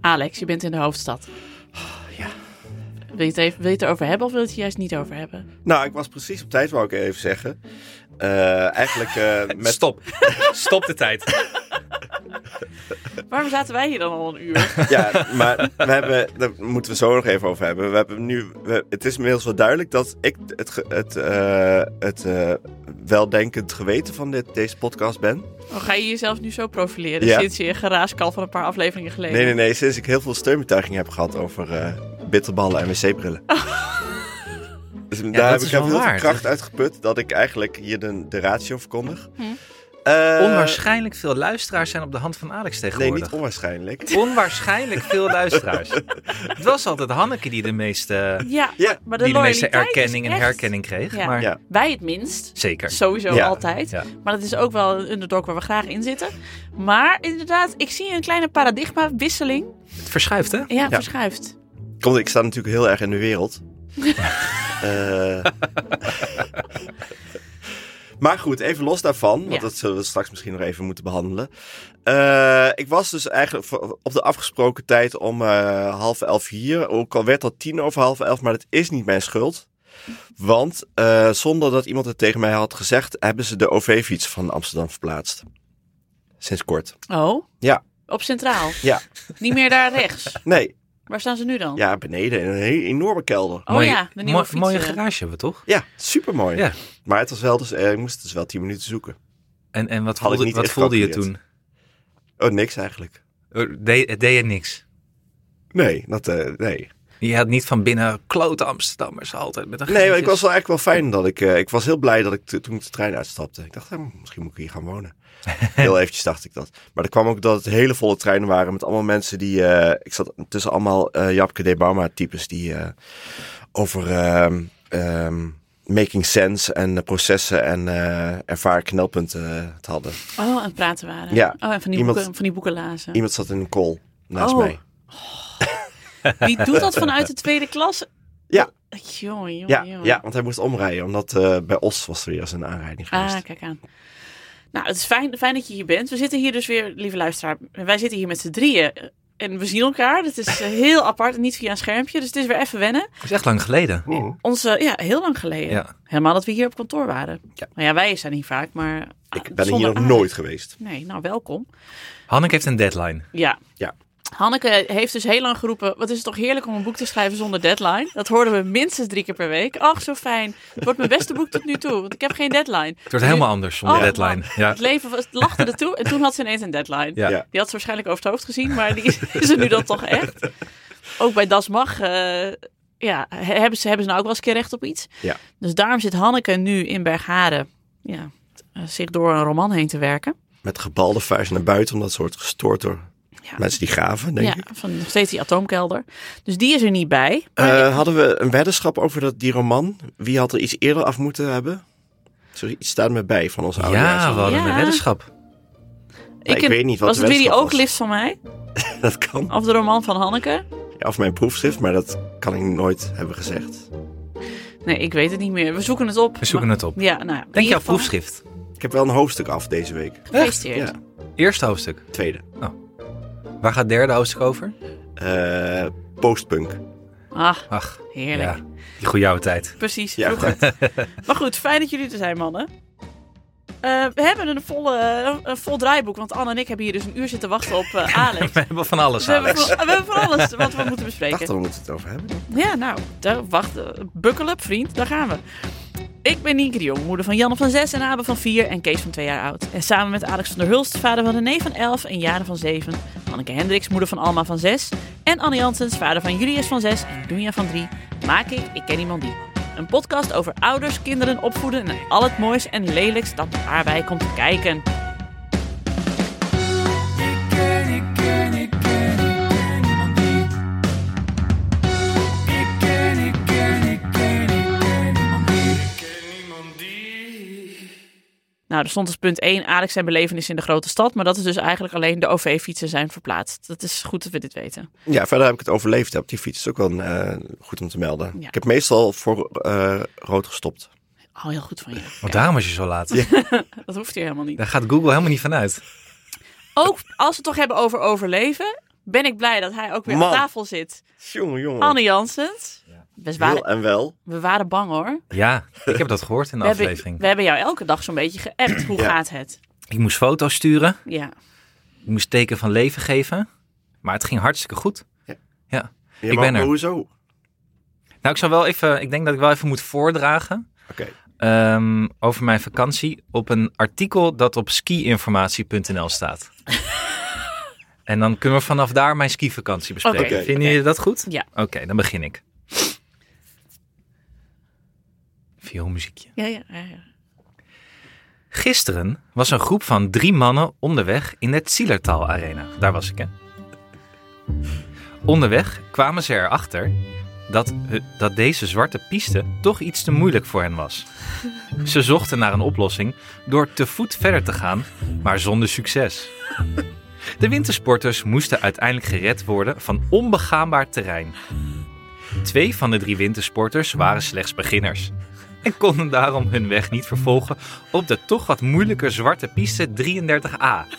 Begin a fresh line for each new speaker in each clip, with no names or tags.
Alex, je bent in de hoofdstad.
ja.
Wil je, het even, wil je het erover hebben of wil je het juist niet over hebben?
Nou, ik was precies op tijd, wou ik even zeggen. Eh, eigenlijk eh, met...
Stop. Stop de tijd.
Waarom zaten wij hier dan al een uur?
Ja, maar we hebben, daar moeten we zo nog even over hebben. We hebben nu, we- het is inmiddels wel duidelijk dat ik het, ge- het, eh, het eh, weldenkend geweten van dit, deze podcast ben.
Oh, ga je jezelf nu zo profileren
Ja.
sinds je een geraaskal van een paar afleveringen geleden?
Nee, nee, nee. Sinds ik heel veel steunbetuiging heb gehad over eh, bitterballen en wc-brillen. Dus daar heb
is
ik heb
wel
heel veel
waar.
kracht uitgeput dat ik eigenlijk hier de, de ratio verkondig.
Hm.
Eh,
Onwaarschijnlijk veel luisteraars zijn op de hand van Alex
Nee,
tegenwoordig.
niet onwaarschijnlijk.
Onwaarschijnlijk veel luisteraars. Het was altijd Hanneke die de meeste,
Ja,
Ja,
maar de
die de meeste
loyaliteit is
erkenning en
echt-
herkenning kreeg.
Ja.
Maar
Ja.
Wij het minst.
zeker.
Sowieso
Ja.
altijd.
Ja.
Maar dat is ook wel een underdog waar we graag in zitten. Maar inderdaad, ik zie een kleine paradigmawisseling.
Het verschuift, hè?
Ja, verschuift.
Komt, ik sta natuurlijk heel erg in de wereld. Eh, maar goed, even los daarvan, want
Ja.
dat zullen we straks misschien nog even moeten behandelen. Eh, ik was dus eigenlijk voor- op de afgesproken tijd om eh, half elf hier. Ook al werd dat tien over half elf, maar dat is niet mijn schuld. Want eh, zonder dat iemand het tegen mij had gezegd, hebben ze de OV-fiets van Amsterdam verplaatst. Sinds kort.
Oh?
Ja.
Op Centraal?
Ja.
Niet meer daar rechts.
Nee,
Waar staan ze nu dan?
ja, beneden in een he- enorme kelder.
Oh ja, de nieuwe
mooi-
fietsen.
mooie garage hebben we toch?
Ja, supermooi.
Ja.
Maar het was wel, dus, eh, ik moest dus wel tien minuten zoeken.
En, en wat
Had ik
voelde,
niet
wat
echt
voelde je toen?
gecalculeerd. Oh, niks eigenlijk.
Er- Deed, het deed je niks.
Nee, dat, eh, nee.
Je had niet van binnen klote Amsterdammers altijd met een
Nee, maar ik
geintjes.
was wel eigenlijk wel fijn dat ik... eh, ik was heel blij dat ik t- toen ik de trein uitstapte. Ik dacht, eh, misschien moet ik hier gaan wonen. heel eventjes dacht ik dat. Maar er kwam ook dat het hele volle treinen waren met allemaal mensen die... eh, ik zat tussen allemaal eh, Japke de Bauma types die eh, over ehm, ehm, making sense en eh, processen en eh ervaren knelpunten eh, het hadden.
Oh, aan het praten waren.
Ja.
Oh, en van die,
Iemand-
boeken, van die boeken lazen.
Iemand zat in een call naast
Oh.
mij.
Wie doet dat vanuit de tweede klas?
Ja.
Jongen, jongen,
Ja,
jongen.
ja, want hij moest omrijden, omdat eh, bij Os was er weer eens een aanrijding geweest.
Ah, kijk aan. Nou, het is fijn, fijn dat je hier bent. We zitten hier dus weer, lieve luisteraar. Wij zitten hier met z'n drieën. eh, En we zien elkaar. Dat is eh, heel apart. en Niet via een schermpje. Dus het is weer even wennen.
Dat is echt lang geleden.
Onze, ja, heel lang geleden.
Ja.
Helemaal dat we hier op kantoor waren.
Ja.
Nou ja, wij zijn hier vaak, maar... ah,
ik ben hier
zonder
nog
Alex.
nooit geweest.
Nee, nou welkom.
Hanneke heeft een deadline.
Ja.
Ja.
Hanneke heeft dus heel lang geroepen, wat is het toch heerlijk om een boek te schrijven zonder deadline. Dat hoorden we minstens drie keer per week. Ach, zo fijn. Het wordt mijn beste boek tot nu toe, want ik heb geen deadline.
Het wordt helemaal anders zonder
Oh,
deadline.
man.
Ja.
Het leven was, lachte er toe en toen had ze ineens een deadline.
Ja.
Ja.
Die had ze waarschijnlijk over het hoofd gezien, maar die is, is er nu dan toch echt. Ook bij Das Mag eh, ja, he- hebben, ze, hebben ze nou ook wel eens een keer recht op iets.
Ja.
Dus daarom zit Hanneke nu in Bergharen ja, t- eh, zich door een roman heen te werken.
Met gebalde vuist naar buiten, omdat ze wordt gestoord door
Ja.
mensen die graven, denk
ja,
ik.
van nog steeds die atoomkelder. Dus die is er niet bij.
Eh, hadden we een weddenschap over dat, die roman? Wie had er iets eerder af moeten hebben? Zoiets staat me bij van onze ouders.
Ja, we hadden
Ja.
een weddenschap.
ik weet niet wat
Was
de
het weer die
weddenschap was.
ooglift van mij?
Dat kan.
Of de roman van Hanneke?
Ja, Of mijn proefschrift, maar dat kan ik nooit hebben gezegd.
Nee, ik weet het niet meer. We zoeken het op.
We zoeken het op.
Ja, nou, ja, in
Denk
ieder
jouw
geval
proefschrift.
Ik heb wel een hoofdstuk af deze week.
Gefeliciteerd.
Ja,
Eerste hoofdstuk.
tweede.
Waar gaat het derde hoofdstuk over?
Eh, postpunk.
Ah,
Ach,
heerlijk.
ja. Die goede oude tijd.
Precies,
Ja.
vroeger. maar goed, fijn dat jullie er zijn, mannen. Eh, we hebben een, volle, een vol draaiboek, want Anne en ik hebben hier dus een uur zitten wachten op eh, Alex.
We hebben van alles,
We hebben,
Alex.
voor, we hebben voor alles wat we moeten
Ik dacht,
bespreken.
daar moeten we het over hebben.
Ja, nou, daar- wacht. eh, Buckle up, vriend. Daar gaan we. Ik ben Nienke de Jong, moeder van Janne van 6 en Abe van 4 en Kees van 2 jaar oud. En samen met Alex van der Hulst, vader van René van 11 en Jaren van 7. Anneke Hendricks, moeder van Alma van 6. En Anne Janssens, vader van Julius van 6 en Dunja van 3. Maak ik Ik Ken Iemand Die. Een podcast over ouders, kinderen, opvoeden en al het moois en lelijks dat daarbij komt kijken. Nou, er stond als punt 1 Alex zijn belevenis in de grote stad. Maar dat is dus eigenlijk alleen de OV-fietsen zijn verplaatst. Dat is goed dat we dit weten.
Ja, verder heb ik het overleefd. hè, Op die fiets is ook wel eh, goed om te melden.
Ja.
Ik heb meestal voor eh, rood gestopt.
Oh, heel goed van je.
Want daarom was je zo laat.
Dat hoeft hier helemaal niet.
Daar gaat Google helemaal niet van uit.
Ook als we het toch hebben over overleven. ben ik blij dat hij ook weer
Man.
aan tafel zit.
Jongen, jongen.
Anne Janssens.
Ja.
Best
Heel
waar,
en wel.
we waren bang hoor.
Ja, ik heb dat gehoord in de
We hebben,
aflevering.
we hebben jou elke dag zo'n beetje geappt. Hoe
Ja.
gaat het?
Ik moest foto's sturen.
Ja.
Ik moest teken van leven geven. Maar het ging hartstikke goed.
Ja,
Ik
maar
ben er.
Hoezo? Oké.
Nou, ik zou wel even. Ik denk dat ik wel even moet voordragen. ehm, over mijn vakantie op een artikel dat op skiinformatie.nl staat. en dan kunnen we vanaf daar mijn skivakantie bespreken.
Oké.
Vinden jullie dat goed?
Ja.
Oké, dan begin ik. Vioolmuziekje.
Ja, ja, ja, ja.
Gisteren was een groep van drie mannen onderweg in het Zielertal Arena. Daar was ik, hè? Onderweg kwamen ze erachter dat, hu- dat deze zwarte piste toch iets te moeilijk voor hen was. Ze zochten naar een oplossing door te voet verder te gaan, maar zonder succes. De wintersporters moesten uiteindelijk gered worden van onbegaanbaar terrein. Twee van de drie wintersporters waren slechts beginners en konden daarom hun weg niet vervolgen op de toch wat moeilijke zwarte piste 33A.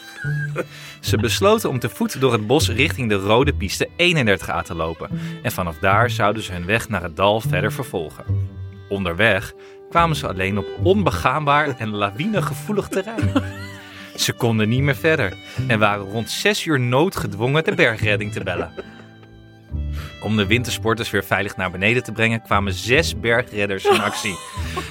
Ze besloten om te voet door het bos richting de rode piste 31A te lopen en vanaf daar zouden ze hun weg naar het dal verder vervolgen. Onderweg kwamen ze alleen op onbegaanbaar en lawinegevoelig terrein. Ze konden niet meer verder en waren rond 6 uur noodgedwongen de bergredding te bellen. Om de wintersporters weer veilig naar beneden te brengen kwamen zes bergredders in actie.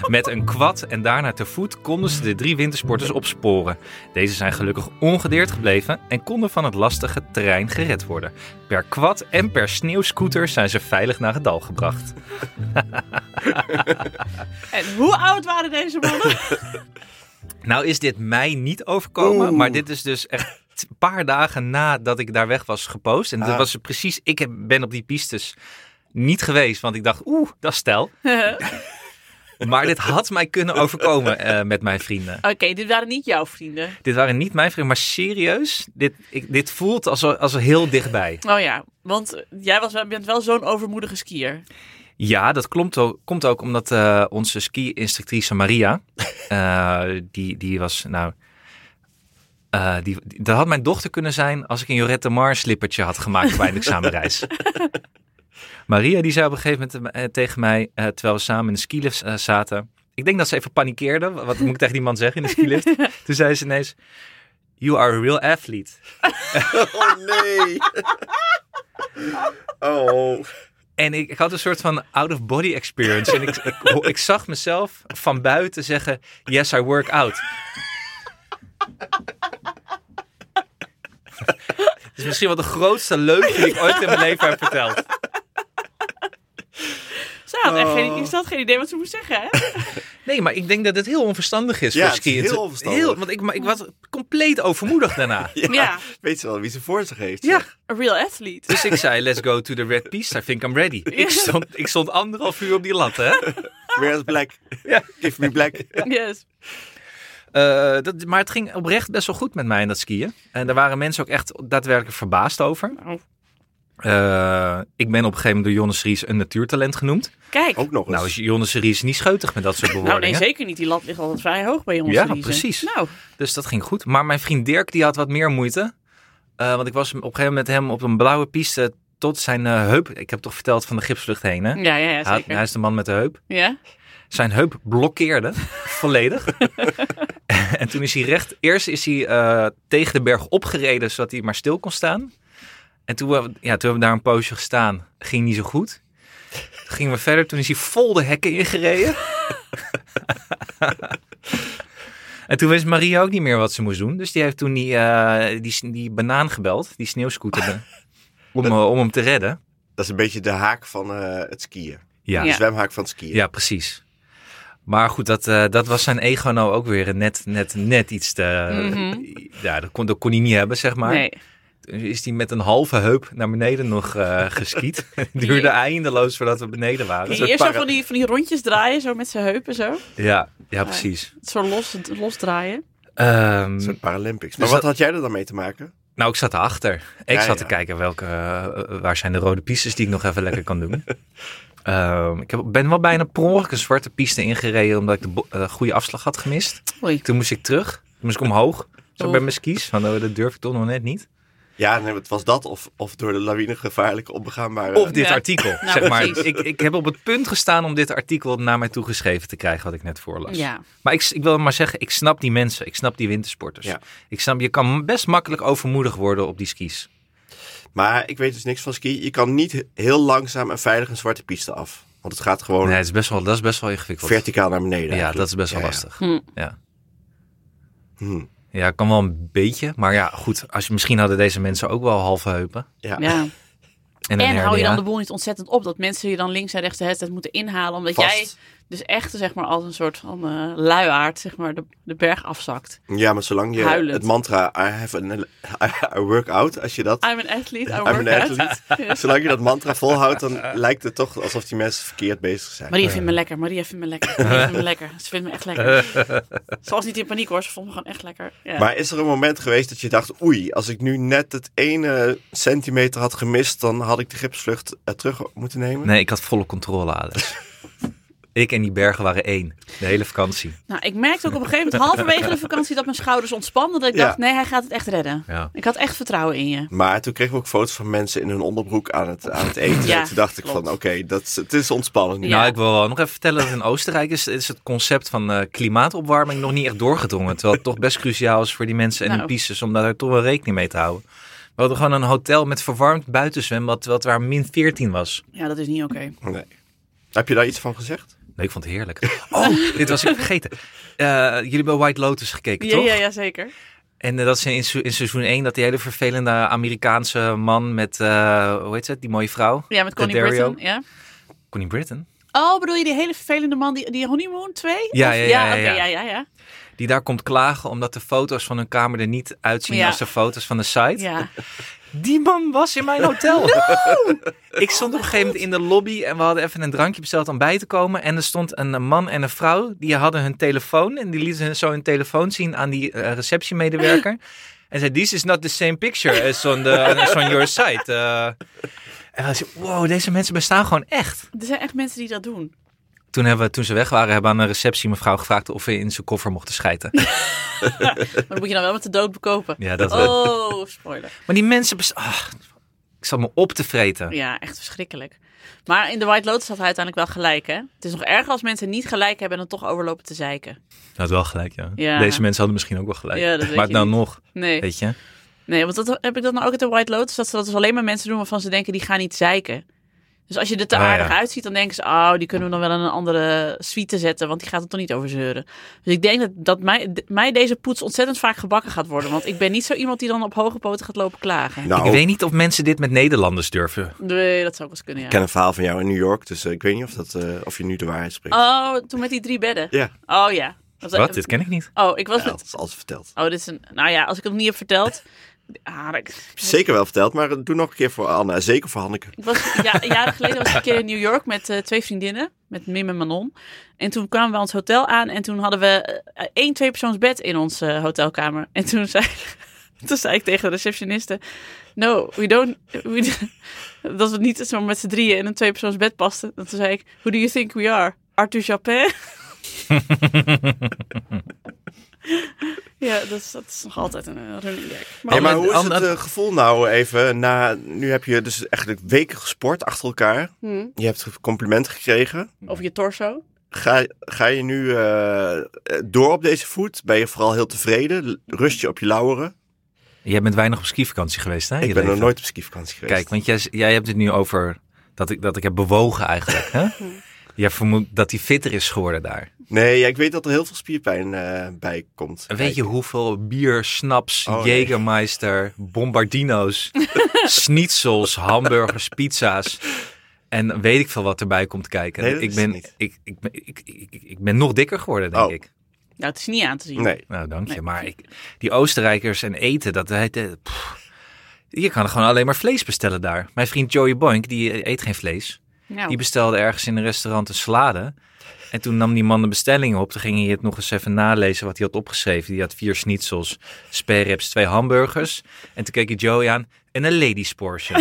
Met een kwad en daarna te voet konden ze de drie wintersporters opsporen. Deze zijn gelukkig ongedeerd gebleven en konden van het lastige terrein gered worden. Per kwad en per sneeuwscooter zijn ze veilig naar het dal gebracht.
En hoe oud waren deze mannen?
Nou is dit mij niet overkomen,
Oeh.
maar dit is dus echt een paar dagen nadat ik daar weg was gepost. En dat
Ah.
was precies, ik heb, ben op die pistes niet geweest, want ik dacht, oeh, dat is stijl. Maar dit had mij kunnen overkomen eh, met mijn vrienden.
Oké, dit waren niet jouw vrienden.
Dit waren niet mijn vrienden, maar serieus, dit, ik, dit voelt als, als heel dichtbij.
Oh ja, want eh, jij was, wel- bent wel zo'n overmoedige skier.
Ja, dat klomt ook, komt ook omdat eh, onze ski-instructrice Maria, eh, die, die was, nou, eh, die, die- dat had mijn dochter kunnen zijn als ik een Jorette Mar slippertje had gemaakt bij een examenreis. Maria die zei op een gegeven moment eh, tegen mij, eh, terwijl we samen in de skilift eh, zaten, ik denk dat ze even panikeerde, wat moet ik tegen die man zeggen in de skilift? Toen zei ze ineens, you are a real athlete.
Oh nee. oh.
En ik, ik had een soort van out-of-body experience. En ik, ik, ho- ik zag mezelf van buiten zeggen: Yes, I work out. Het is misschien wel de grootste leugen die ik ooit in mijn leven heb verteld.
Ze had echt
Oh.
geen, is dat geen idee wat ze moest zeggen, hè?
Nee, maar ik denk dat het heel onverstandig is
Ja,
voor
het is
skiën.
heel onverstandig.
want ik, maar ik was compleet overmoedig daarna.
Ja.
Ja.
Weet ze wel wie ze voor zich heeft?
Ja.
zeg.
A real athlete.
Dus ik zei: Let's go to the red piece. I think I'm ready. Ik stond, ik stond anderhalf uur op die lat, hè?
Where's black?
Ja.
Give me black.
Yes.
Eh, dat, maar het ging oprecht best wel goed met mij in dat skiën. En daar waren mensen ook echt daadwerkelijk verbaasd over.
Nou,
Eh, ik ben op een gegeven moment door Jonas Ries een natuurtalent genoemd.
Kijk.
Ook nog eens.
Nou is Jonas Ries niet scheutig met dat soort
Nou, nee,
bewoordingen.
zeker niet. Die lat ligt altijd vrij hoog bij ons.
Ja,
Elise.
precies.
Nou,
dus dat ging goed. Maar mijn vriend Dirk die had wat meer moeite. Eh, want ik was op een gegeven moment met hem op een blauwe piste tot zijn eh, heup. Ik heb toch verteld van de gipsvlucht heen hè?
ja, ja, ja
Hij had-
zeker.
hij is de man met de heup.
Ja?
zijn heup blokkeerde. volledig. en toen is hij recht. Eerst is hij eh, tegen de berg opgereden zodat hij maar stil kon staan. En toen, we, ja, toen hebben we daar een poosje gestaan. Ging niet zo goed. Toen gingen we verder. Toen is hij vol de hekken ingereden. En toen wist Maria ook niet meer wat ze moest doen. Dus die heeft toen die, eh, die, die banaan gebeld. Die sneeuwscooter. om, eh, om hem te redden.
Dat is een beetje de haak van eh, het skiën.
Ja,
De zwemhaak van het skiën.
ja, precies. Maar goed, dat, eh, dat was zijn ego nou ook weer net, net, net iets te...
Mhm.
Ja, dat kon, dat kon hij niet hebben, zeg maar.
nee.
Toen Is hij met een halve heup naar beneden nog eh geskiet. Duurde eindeloos voordat we beneden
Kun
waren.
je
soort
eerst zo
para-
van die, van die rondjes draaien, zo met zijn heupen zo.
Ja, ja precies.
Zo los, los draaien.
Een
Ehm,
soort Paralympics. Maar
Dus
wat
dat-
had jij er dan mee te maken?
nou, ik zat erachter. Ik
Ja,
zat te
ja.
kijken welke, eh, waar zijn de rode pistes die ik nog even lekker kan doen. Ehm, ik heb, ben wel bijna per ongeluk een zwarte piste ingereden omdat ik de bo- eh, goede afslag had gemist.
Oei.
Toen moest ik terug. Toen moest ik omhoog. Zo
Oh.
bij mijn skis. Van, oh, dat durf ik toch nog net niet.
Ja, nee, het was dat of, of door de lawine gevaarlijke onbegaanbare...
Of dit
Ja.
artikel,
Nou,
zeg maar.
precies.
Ik, ik heb op het punt gestaan om dit artikel naar mij toegeschreven te krijgen, wat ik net voorlas.
Ja.
Maar ik, ik wil maar zeggen, ik snap die mensen. Ik snap die wintersporters.
Ja.
Ik snap, je kan best makkelijk overmoedig worden op die skis.
Maar ik weet dus niks van ski. Je kan niet heel langzaam en veilig een zwarte piste af. Want het gaat
Oh.
gewoon
Nee, het is best wel, dat is best wel ingewikkeld.
verticaal naar beneden.
Ja,
eigenlijk.
dat is best wel
Ja, ja.
lastig.
Hm.
Ja.
Hmm.
ja, kan wel een beetje. Maar ja, goed. Als je, misschien hadden deze mensen ook wel halve heupen.
Ja.
Ja.
En, een
En hou je
hernia.
dan de boel niet ontzettend op dat mensen je dan links en rechts de hele tijd moeten inhalen, omdat jij
Vast.
dus echt zeg maar als een soort van eh, luiaard zeg maar de, de berg afzakt.
Ja, maar zolang je
Huilend.
het mantra I have an- a workout, als je dat...
I'm an athlete, I
I'm
work
an
out.
athlete. Zolang je dat mantra volhoudt, dan lijkt het toch alsof die mensen verkeerd bezig zijn.
Maria vindt me lekker, Maria vindt me lekker, Maria vindt me lekker. Ze vindt me echt lekker. Ze was niet in paniek hoor, ze vond me gewoon echt lekker. Ja.
Maar is er een moment geweest dat je dacht, oei, als ik nu net het ene centimeter had gemist, dan had ik de gipsvlucht eh, terug moeten nemen?
Nee, ik had volle controle, Alex. ik en die bergen waren één. De hele vakantie.
Nou, ik merkte ook op een gegeven moment halverwege de vakantie dat mijn schouders ontspanden, dat ik
Ja.
dacht nee, hij gaat het echt redden.
Ja.
Ik had echt vertrouwen in je.
Maar toen kregen we ook foto's van mensen in hun onderbroek aan het, aan het eten.
Ja,
en toen dacht ik
klopt.
van, oké, dat is- het is ontspannen nu.
Ja.
Nou, ik wil wel nog even vertellen dat in Oostenrijk is, is het concept van eh, klimaatopwarming nog niet echt doorgedrongen. Terwijl het toch best cruciaal is voor die mensen en
Nou.
hun pistes om daar toch wel rekening mee te houden. We hadden gewoon een hotel met verwarmd buitenzwembad, terwijl het waar min 14 was.
Ja, dat is niet oké.
Nee. Heb je daar iets van gezegd?
Nee, ik vond het heerlijk. Oh, dit was ik vergeten. Eh, jullie hebben White Lotus gekeken,
Ja,
toch?
ja, ja, zeker.
En eh, dat is in, se- in seizoen 1 dat die hele vervelende Amerikaanse man met, eh, hoe heet ze, die mooie vrouw?
Ja, met Connie
Dario.
Britton. Ja.
Connie Britton.
Oh, bedoel je die hele vervelende man, die, die Honeymoon 2?
Ja,
Of-
ja, ja,
oké,
ja,
ja, ja,
ja.
ja.
Die daar komt klagen omdat de foto's van hun kamer er niet uitzien
Ja.
als de foto's van de site.
Ja.
Die man was in mijn hotel. Ik stond op een gegeven moment in de lobby en we hadden even een drankje besteld om bij te komen. En er stond een eh, man en een vrouw, die hadden hun telefoon en die lieten hun zo hun telefoon zien aan die eh, receptiemedewerker. En zei, this is not the same picture as on, the, as on your site. Eh, en we zeiden, wow, deze mensen bestaan gewoon echt.
Er zijn echt mensen die dat doen.
Toen, hebben, we- toen ze weg waren, hebben we aan een receptie mevrouw gevraagd of we in zijn koffer mochten schijten.
Maar dat moet je dan wel met de dood bekopen.
Ja, dat wel.
Oh, spoiler.
Maar die mensen bestaan... ik zat me op te vreten.
Ja, echt verschrikkelijk. Maar in de White Lotus had hij uiteindelijk wel gelijk, hè? Het is nog erger als mensen niet gelijk hebben en dan toch overlopen te zeiken.
Dat wel gelijk, ja.
Ja.
Deze mensen hadden misschien ook wel gelijk.
Ja, dat weet
maar
je
dan
niet.
nog,
Nee,
weet je.
nee want dat heb ik dan ook in de White Lotus. Dat ze dat dus alleen maar mensen doen waarvan ze denken, die gaan niet zeiken. Dus als je er te
Ah, ja.
aardig uitziet, dan denken ze... oh, die kunnen we dan wel in een andere suite zetten... want die gaat het toch niet over zeuren. Dus ik denk dat, dat mij, d- mij deze poets ontzettend vaak gebakken gaat worden. Want ik ben niet zo iemand die dan op hoge poten gaat lopen klagen.
Nou,
Ik
ik,
weet niet of mensen dit met Nederlanders durven.
Nee, dat zou ook wel eens kunnen, ja.
ken een verhaal van jou in New York, dus eh, ik weet niet of, dat, eh, of je nu de waarheid spreekt.
Oh, toen met die drie bedden.
Ja,
Oh ja. Dat-
Wat? Dit ken ik Nou. niet.
Oh, ik was
ja, dat
het.
is alles verteld.
Oh, dit is een. Nou ja, als ik het nog niet heb verteld. Ah, ik,
Zeker wel verteld, maar eh, doe nog een keer voor Anna. Zeker voor Hanneke.
ik was, ja, jaren geleden was ik een keer in New York met eh, twee vriendinnen. Met Mim en Manon. En toen kwamen we ons hotel aan. En toen hadden we eh, één, twee persoons bed in onze eh, hotelkamer. En toen zei, toen zei ik tegen de receptioniste. No, we don't. We, dat we niet zo met z'n drieën in een tweepersoons bed pasten. En toen zei ik. Who do you think we are? Arthur Japin? ja, dat is, dat is nog altijd een eh, running gag. Maar
Hey, maar
Anne-
hoe is
Anne-
het eh, gevoel nou even? Na, nu heb je dus eigenlijk weken gesport achter elkaar.
Hmm.
Je hebt complimenten gekregen.
Over je torso.
Ga, ga je nu eh, door op deze voet? Ben je vooral heel tevreden? Rust je op je lauweren?
Jij bent weinig op skivakantie geweest, hè? in je
ik ben nog
leven?
nooit op skivakantie geweest.
Kijk, want jij, jij hebt het nu over dat ik, dat ik heb bewogen eigenlijk, hè? Jij vermoedt dat hij fitter is geworden daar.
Nee, ja, ik weet dat er heel veel spierpijn eh, bij komt.
En Weet je hoeveel bier, snaps,
Oh, nee.
Jägermeister, bombardino's, schnitzels, hamburgers, pizza's en weet ik veel wat erbij komt kijken.
Nee, dat
ik,
is
ben,
het niet.
Ik, ik, ben- ik, ik, ik- ik ben nog dikker geworden, denk
Oh.
ik.
Nou, het is niet aan te zien.
Nee.
Nou, dank je.
Nee.
Maar ik, die Oostenrijkers en eten, dat heet... eh, pff. je kan gewoon alleen maar vlees bestellen daar. Mijn vriend Joey Boink, die eh, eet geen vlees.
Nou,
Die bestelde ergens in een restaurant een salade. En toen nam die man de bestelling op. Toen ging hij het nog eens even nalezen wat hij had opgeschreven. Die had vier schnitzels, spare ribs, twee hamburgers. En toen keek hij Joey aan en een ladies portion.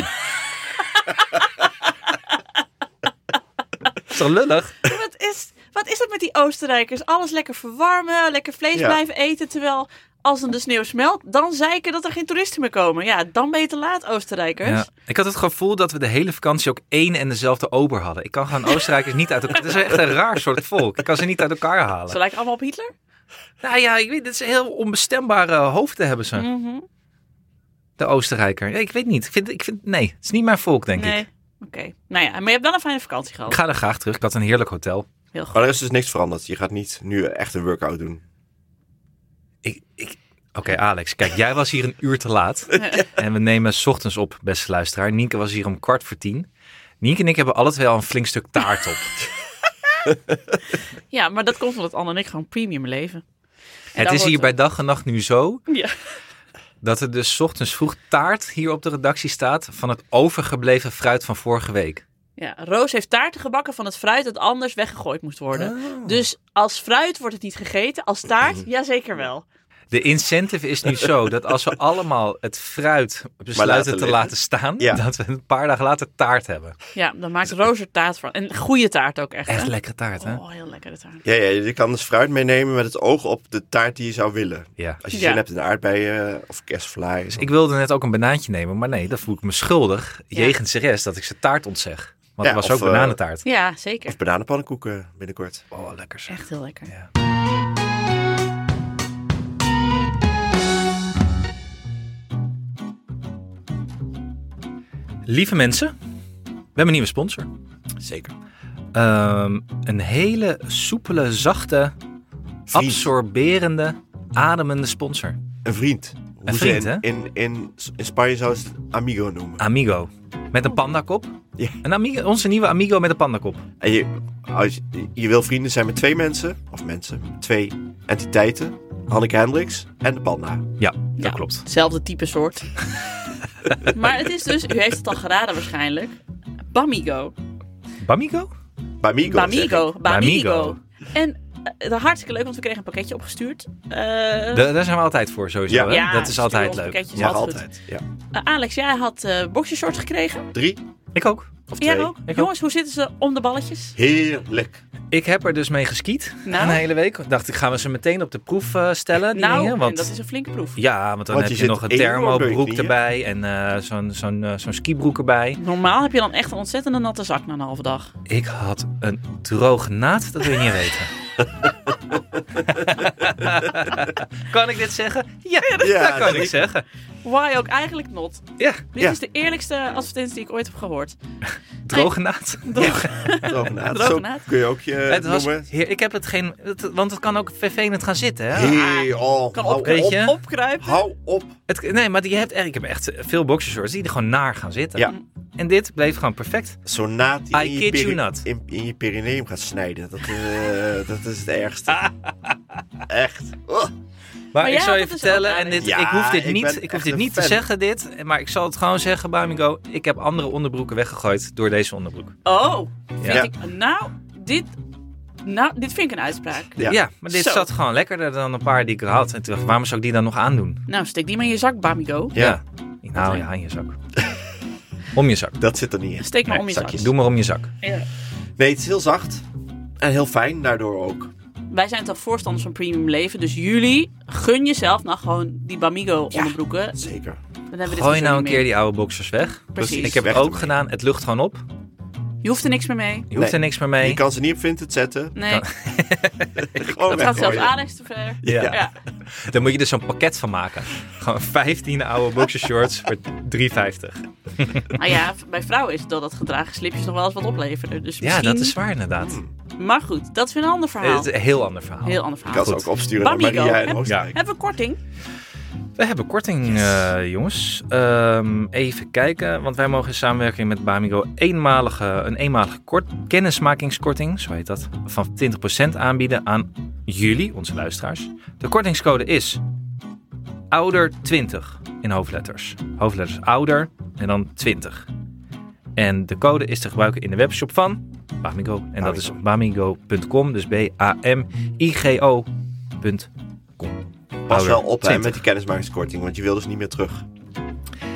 Is toch lullig?
wat is... Wat is dat met die Oostenrijkers? Alles lekker verwarmen, lekker vlees
Ja.
blijven eten. Terwijl als dan de sneeuw smelt, dan zeiken dat er geen toeristen meer komen. Ja, dan ben je te laat, Oostenrijkers.
Ja. Ik had het gevoel dat we de hele vakantie ook één en dezelfde ober hadden. Ik kan gewoon Oostenrijkers niet uit elkaar... Het is echt een raar soort volk. Ik kan ze niet uit elkaar
Ze
halen.
lijken allemaal op Hitler.
Nou ja, ik weet, het is een heel onbestembare hoofden hebben ze.
Mhm.
De Oostenrijker. Ja, ik weet niet. Ik vind, ik vind, nee, het is niet mijn volk, denk
nee.
ik.
Oké. Nou ja, maar je hebt wel een fijne vakantie gehad.
Ik ga er graag terug. Ik had een heerlijk hotel.
Heel goed.
Maar er is dus niks veranderd. Je gaat niet nu echt een workout doen.
Ik, ik... Oké, Alex. Kijk, jij was hier een uur te laat. En we nemen 's ochtends op, beste luisteraar. Nienke was hier om kwart voor tien. Nienke en ik hebben alle twee al een flink stuk taart op.
Ja, maar dat komt omdat Anne en ik gewoon premium leven. En
het
daar
is hier
hoort
bij dag en nacht nu zo...
Ja.
dat er dus 's ochtends vroeg taart hier op de redactie staat... van het overgebleven fruit van vorige week.
Ja, Roos heeft taarten gebakken van het fruit dat anders weggegooid moest worden. Dus als fruit wordt het niet gegeten, als taart, jazeker wel.
De incentive is nu zo dat als we allemaal het fruit besluiten
laten
te
liggen.
laten staan...
Ja.
dat we een paar dagen later taart hebben.
Ja, dan maakt Roos er taart van. En goede taart ook echt. hè?
Echt lekkere taart, hè?
Oh, heel lekkere taart.
Ja, ja, je kan dus fruit meenemen met het oog op de taart die je zou willen.
Ja.
Als je
Ja.
zin hebt in aardbeien of kerstflaai.
Dus ik wilde net ook een banaantje nemen, maar nee, dat voel ik me schuldig.
Ja.
Jegens de rest dat ik ze taart ontzeg. Want
Ja,
er was
of,
ook
eh,
bananentaart.
Ja, zeker.
Of bananenpannenkoeken binnenkort.
Oh, lekker zeg.
Echt heel lekker.
Ja. Lieve mensen, we hebben een nieuwe sponsor.
Zeker.
Ehm, een hele soepele, zachte,
Vriend.
absorberende, ademende sponsor.
Een vriend. Hoe ze
vriend,
in,
hè?
In, in, in Spanje zou ze het amigo noemen.
Amigo. Met een pandakop.
Ja.
Een amigo, onze nieuwe amigo met een pandakop.
En je, als, je- je wil vrienden zijn met twee mensen, of mensen, twee entiteiten. Hanneke Hendricks en de panda.
Ja, dat
Ja.
klopt.
Hetzelfde type soort. maar het is dus, u heeft het al geraden waarschijnlijk, Bamigo.
Bamigo?
Bamigo. zeg ik.
Bamigo. Bamigo.
Bamigo.
En eh, hartstikke leuk, want we kregen een pakketje opgestuurd. Eh,
Da- daar zijn we altijd voor sowieso.
Ja.
hè?
Ja,
dat is
stuur
altijd
ons
leuk.
pakketjes.
Mag
Altijd goed.
altijd. Ja.
eh, Alex, jij had eh boxershorts gekregen.
Drie
Ik ook.
of twee.
Jij ook.
ook.
Jongens, hoe zitten ze om de balletjes?
Heerlijk.
Ik heb er dus mee geskiet.
Nou.
Een hele week. Dacht ik, gaan we ze meteen op de proef eh, stellen? Die
nou,
dingen? Want,
en dat is een flinke proef.
Ja, want dan
Want
heb
je
je,
zit
nog een
enorm door je
thermobroek
knieën.
erbij en eh, zo'n zo'n eh, zo'n skibroek erbij.
Normaal heb je dan echt een ontzettende natte zak na een halve dag.
Ik had een droge naad, dat wil je niet weten. kan ik dit zeggen? Ja,
Ja,
dat kan
dat
ik
ik-
zeggen.
Why ook eigenlijk not.
Ja,
Dit
Ja.
is de eerlijkste advertentie die ik ooit heb gehoord.
droge naad.
Droog.
Drogenaad. Zo
Drogenaad.
kun je ook je
Het was,
noemen.
heer, ik heb het geen... het- want het kan ook vervelend gaan zitten, hè?
Hey, oh,
Kan
hou
op,
weet
op,
je?
opkruipen.
Hou op.
Het, nee, maar je hebt, echt- ik heb echt veel boxershorts die er gewoon naar gaan zitten.
Ja.
En dit bleef gewoon perfect.
Zo'n naad die
I
in, je
kid you
peri-
not.
in, in je perineum gaat snijden. Dat, eh, dat is het ergste. Echt. Oh,
Maar,
Maar
ik
jij
zal
had
je
het dus
vertellen,
ook,
en dit,
Alex.
ik hoef dit
Ja, ik
niet,
ben
ik hoef
echt
dit
een
niet te
fan.
zeggen, dit, maar ik zal het gewoon zeggen, Bamigo. Ik heb andere onderbroeken weggegooid door deze onderbroek.
Oh,
Ja,
Ja.
ja.
ik- nou, dit, nou, dit vind ik een uitspraak.
Ja.
maar dit
Zo.
zat gewoon lekkerder dan een paar die ik er had. En toen dacht ik, waarom zou ik die dan nog aandoen?
Nou, stik die maar in je zak, Bamigo.
Ja,
Ik hou je aan je zak. om je zak.
dat zit er niet in.
Steek maar
Nee,
om je
zakjes.
zakjes.
Doe maar om je zak.
Nee, het is heel zacht. En heel fijn daardoor ook.
Wij zijn toch voorstanders van premium leven. Dus jullie, gun jezelf nou gewoon die Bamigo onderbroeken.
Zeker.
Dan hebben we dit
Gooi
gedoe
nou een
niet
keer
meer.
die oude boxers weg.
Precies.
Ik heb
Weg
het ook
ermee.
gedaan. Het lucht gewoon op.
Je hoeft er niks meer mee.
Je hoeft
Nee.
er niks meer mee.
Je kan ze niet op Vinted zetten.
Nee,
Gewoon
dat gaat zelfs
weggooien.
Alex te ver.
Ja.
Ja.
Dan moet je dus zo'n pakket van maken. Gewoon 15 oude boxershorts voor 3,50.
Nou ja, bij vrouwen is het dat dat gedragen slipjes nog wel eens wat opleveren. Dus
Ja,
misschien...
dat is waar inderdaad.
Maar goed, dat is weer een ander
Eh,
verhaal.
Het is een heel ander verhaal.
Heel ander verhaal.
Je kan ze
Goed.
ook opsturen naar
Bamigo.
Maria in
Ja.
Oostenrijk.
Hebben we korting?
We hebben korting, eh, jongens. Ehm, even kijken, want wij mogen in samenwerking met Bamigo eenmalige, een eenmalige kort, kennismakingskorting, zo heet dat, van 20% aanbieden aan jullie, onze luisteraars. De kortingscode is ouder20 in hoofdletters. Hoofdletters ouder en dan 20. En de code is te gebruiken in de webshop van Bamigo. En dat is bamigo.com, dus B-A-M-I-G-O.com.
Pas wel op hè,
20.
met die kennismakingskorting, want je wil dus niet meer terug.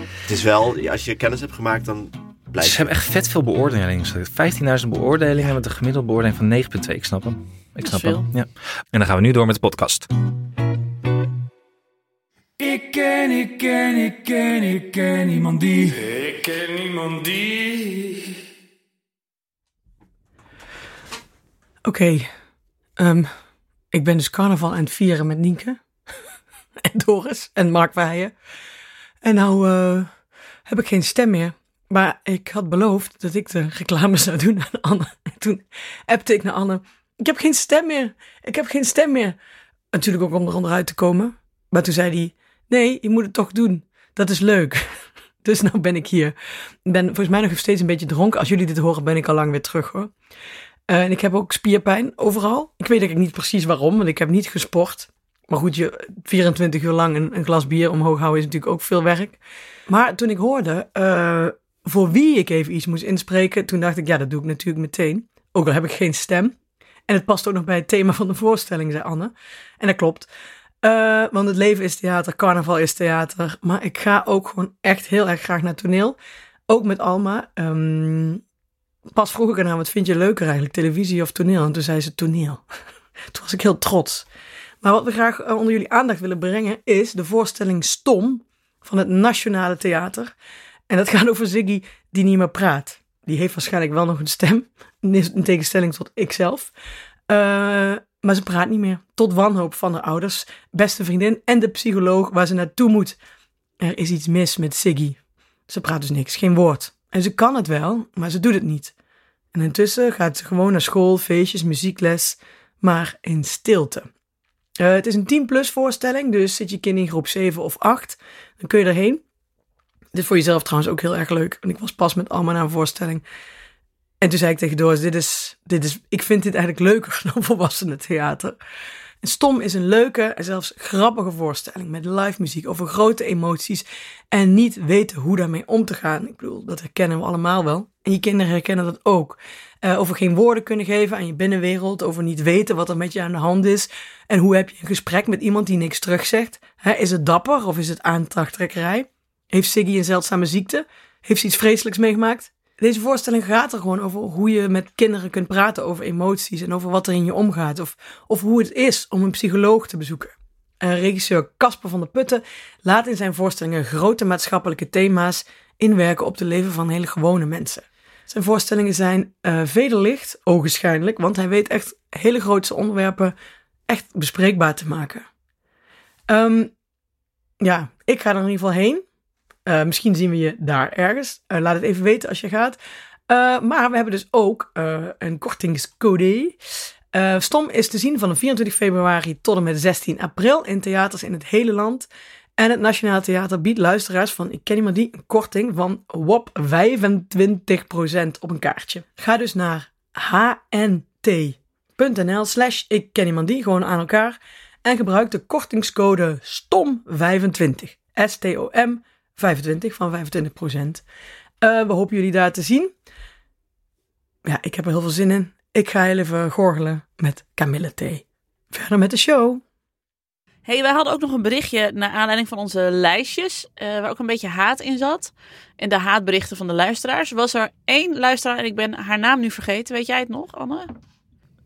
Het is wel, als je kennis hebt gemaakt, dan blijkt.
Ze hebben echt vet veel beoordelingen. Ze hebben 15.000 beoordelingen met een gemiddelde beoordeling van 9,2. Ik snap hem. Ik
is
snap
veel.
hem. Ja. En dan gaan we nu door met de podcast.
Ik ken, ik ken, ik ken, ik ken iemand die.
Ik ken niemand die.
Oké. Ehm, ik ben dus carnaval aan het vieren met Nienke. en Doris en Mark Weijen. En nou eh, heb ik geen stem meer. Maar ik had beloofd dat ik de reclame zou doen aan Anne. En toen appte ik naar Anne. Ik heb geen stem meer. Ik heb geen stem meer. Natuurlijk ook om er onderuit te komen. Maar toen zei hij, nee, je moet het toch doen. Dat is leuk. Dus nou ben ik hier. Ik ben volgens mij nog steeds een beetje dronken. Als jullie dit horen, ben ik al lang weer terug hoor. Eh, en ik heb ook spierpijn overal. Ik weet eigenlijk niet precies waarom, want ik heb niet gesport. Maar goed, je, 24 uur lang een, een glas bier omhoog houden is natuurlijk ook veel werk. Maar toen ik hoorde eh, voor wie ik even iets moest inspreken, toen dacht ik, ja, dat doe ik natuurlijk meteen. Ook al heb ik geen stem. En het past ook nog bij het thema van de voorstelling, zei Anne. En dat klopt. Eh, want het leven is theater, carnaval is theater. Maar ik ga ook gewoon echt heel erg graag naar toneel. Ook met Alma. Ehm, pas vroeg ik aan haar, wat vind je leuker eigenlijk, televisie of toneel? En toen zei ze toneel. toen was ik heel trots. Maar wat we graag eh, onder jullie aandacht willen brengen is de voorstelling Stom van het Nationale Theater. En dat gaat over Ziggy die niet meer praat. Die heeft waarschijnlijk wel nog een stem, in tegenstelling tot ikzelf. Eh, maar ze praat niet meer. Tot wanhoop van haar ouders, beste vriendin en de psycholoog waar ze naartoe moet. Er is iets mis met Ziggy. Ze praat dus niks, geen woord. En ze kan het wel, maar ze doet het niet. En intussen gaat ze gewoon naar school, feestjes, muziekles, maar in stilte. Eh, het is een 10-plus voorstelling, dus zit je kind in groep 7 of 8, dan kun je erheen. Dit is voor jezelf trouwens ook heel erg leuk, want ik was pas met Alma naar een voorstelling. En toen zei ik tegen Doris, dit is, dit is, ik vind dit eigenlijk leuker dan volwassenen theater. En Stom is een leuke en zelfs grappige voorstelling met live muziek over grote emoties en niet weten hoe daarmee om te gaan. Ik bedoel, dat herkennen we allemaal wel. En je kinderen herkennen dat ook. Eh, over geen woorden kunnen geven aan je binnenwereld, over niet weten wat er met je aan de hand is. En hoe heb je een gesprek met iemand die niks terugzegt? Hè, is het dapper of is het aantachttrekkerij? Heeft Siggy een zeldzame ziekte? Heeft ze iets vreselijks meegemaakt? Deze voorstelling gaat er gewoon over hoe je met kinderen kunt praten over emoties en over wat er in je omgaat. Of, of hoe het is om een psycholoog te bezoeken. En regisseur Casper van der Putten laat in zijn voorstellingen grote maatschappelijke thema's inwerken op de leven van hele gewone mensen. Zijn voorstellingen zijn eh vederlicht, ogenschijnlijk, want hij weet echt hele grootse onderwerpen echt bespreekbaar te maken. Ehm, ja, ik ga er in ieder geval heen. Eh, misschien zien we je daar ergens. Eh, laat het even weten als je gaat. Eh, maar we hebben dus ook eh, een kortingscode. Eh, Stom is te zien vanaf 24 februari tot en met 16 april in theaters in het hele land. En het Nationaal Theater biedt luisteraars van Ik Ken Iemand Die een korting van WOP 25% op een kaartje. Ga dus naar hnt.nl slash Ik Ken Iemand Die, gewoon aan elkaar. En gebruik de kortingscode STOM25. S-T-O-M 25 van 25%. Eh, we hopen jullie daar te zien. Ja, ik heb er heel veel zin in. Ik ga heel even gorgelen met Camille thee. Verder met de show.
hey, wij hadden ook nog een berichtje naar aanleiding van onze lijstjes, eh, waar ook een beetje haat in zat. En de haatberichten van de luisteraars. Was er één luisteraar, en ik ben haar naam nu vergeten, weet jij het nog, Anne?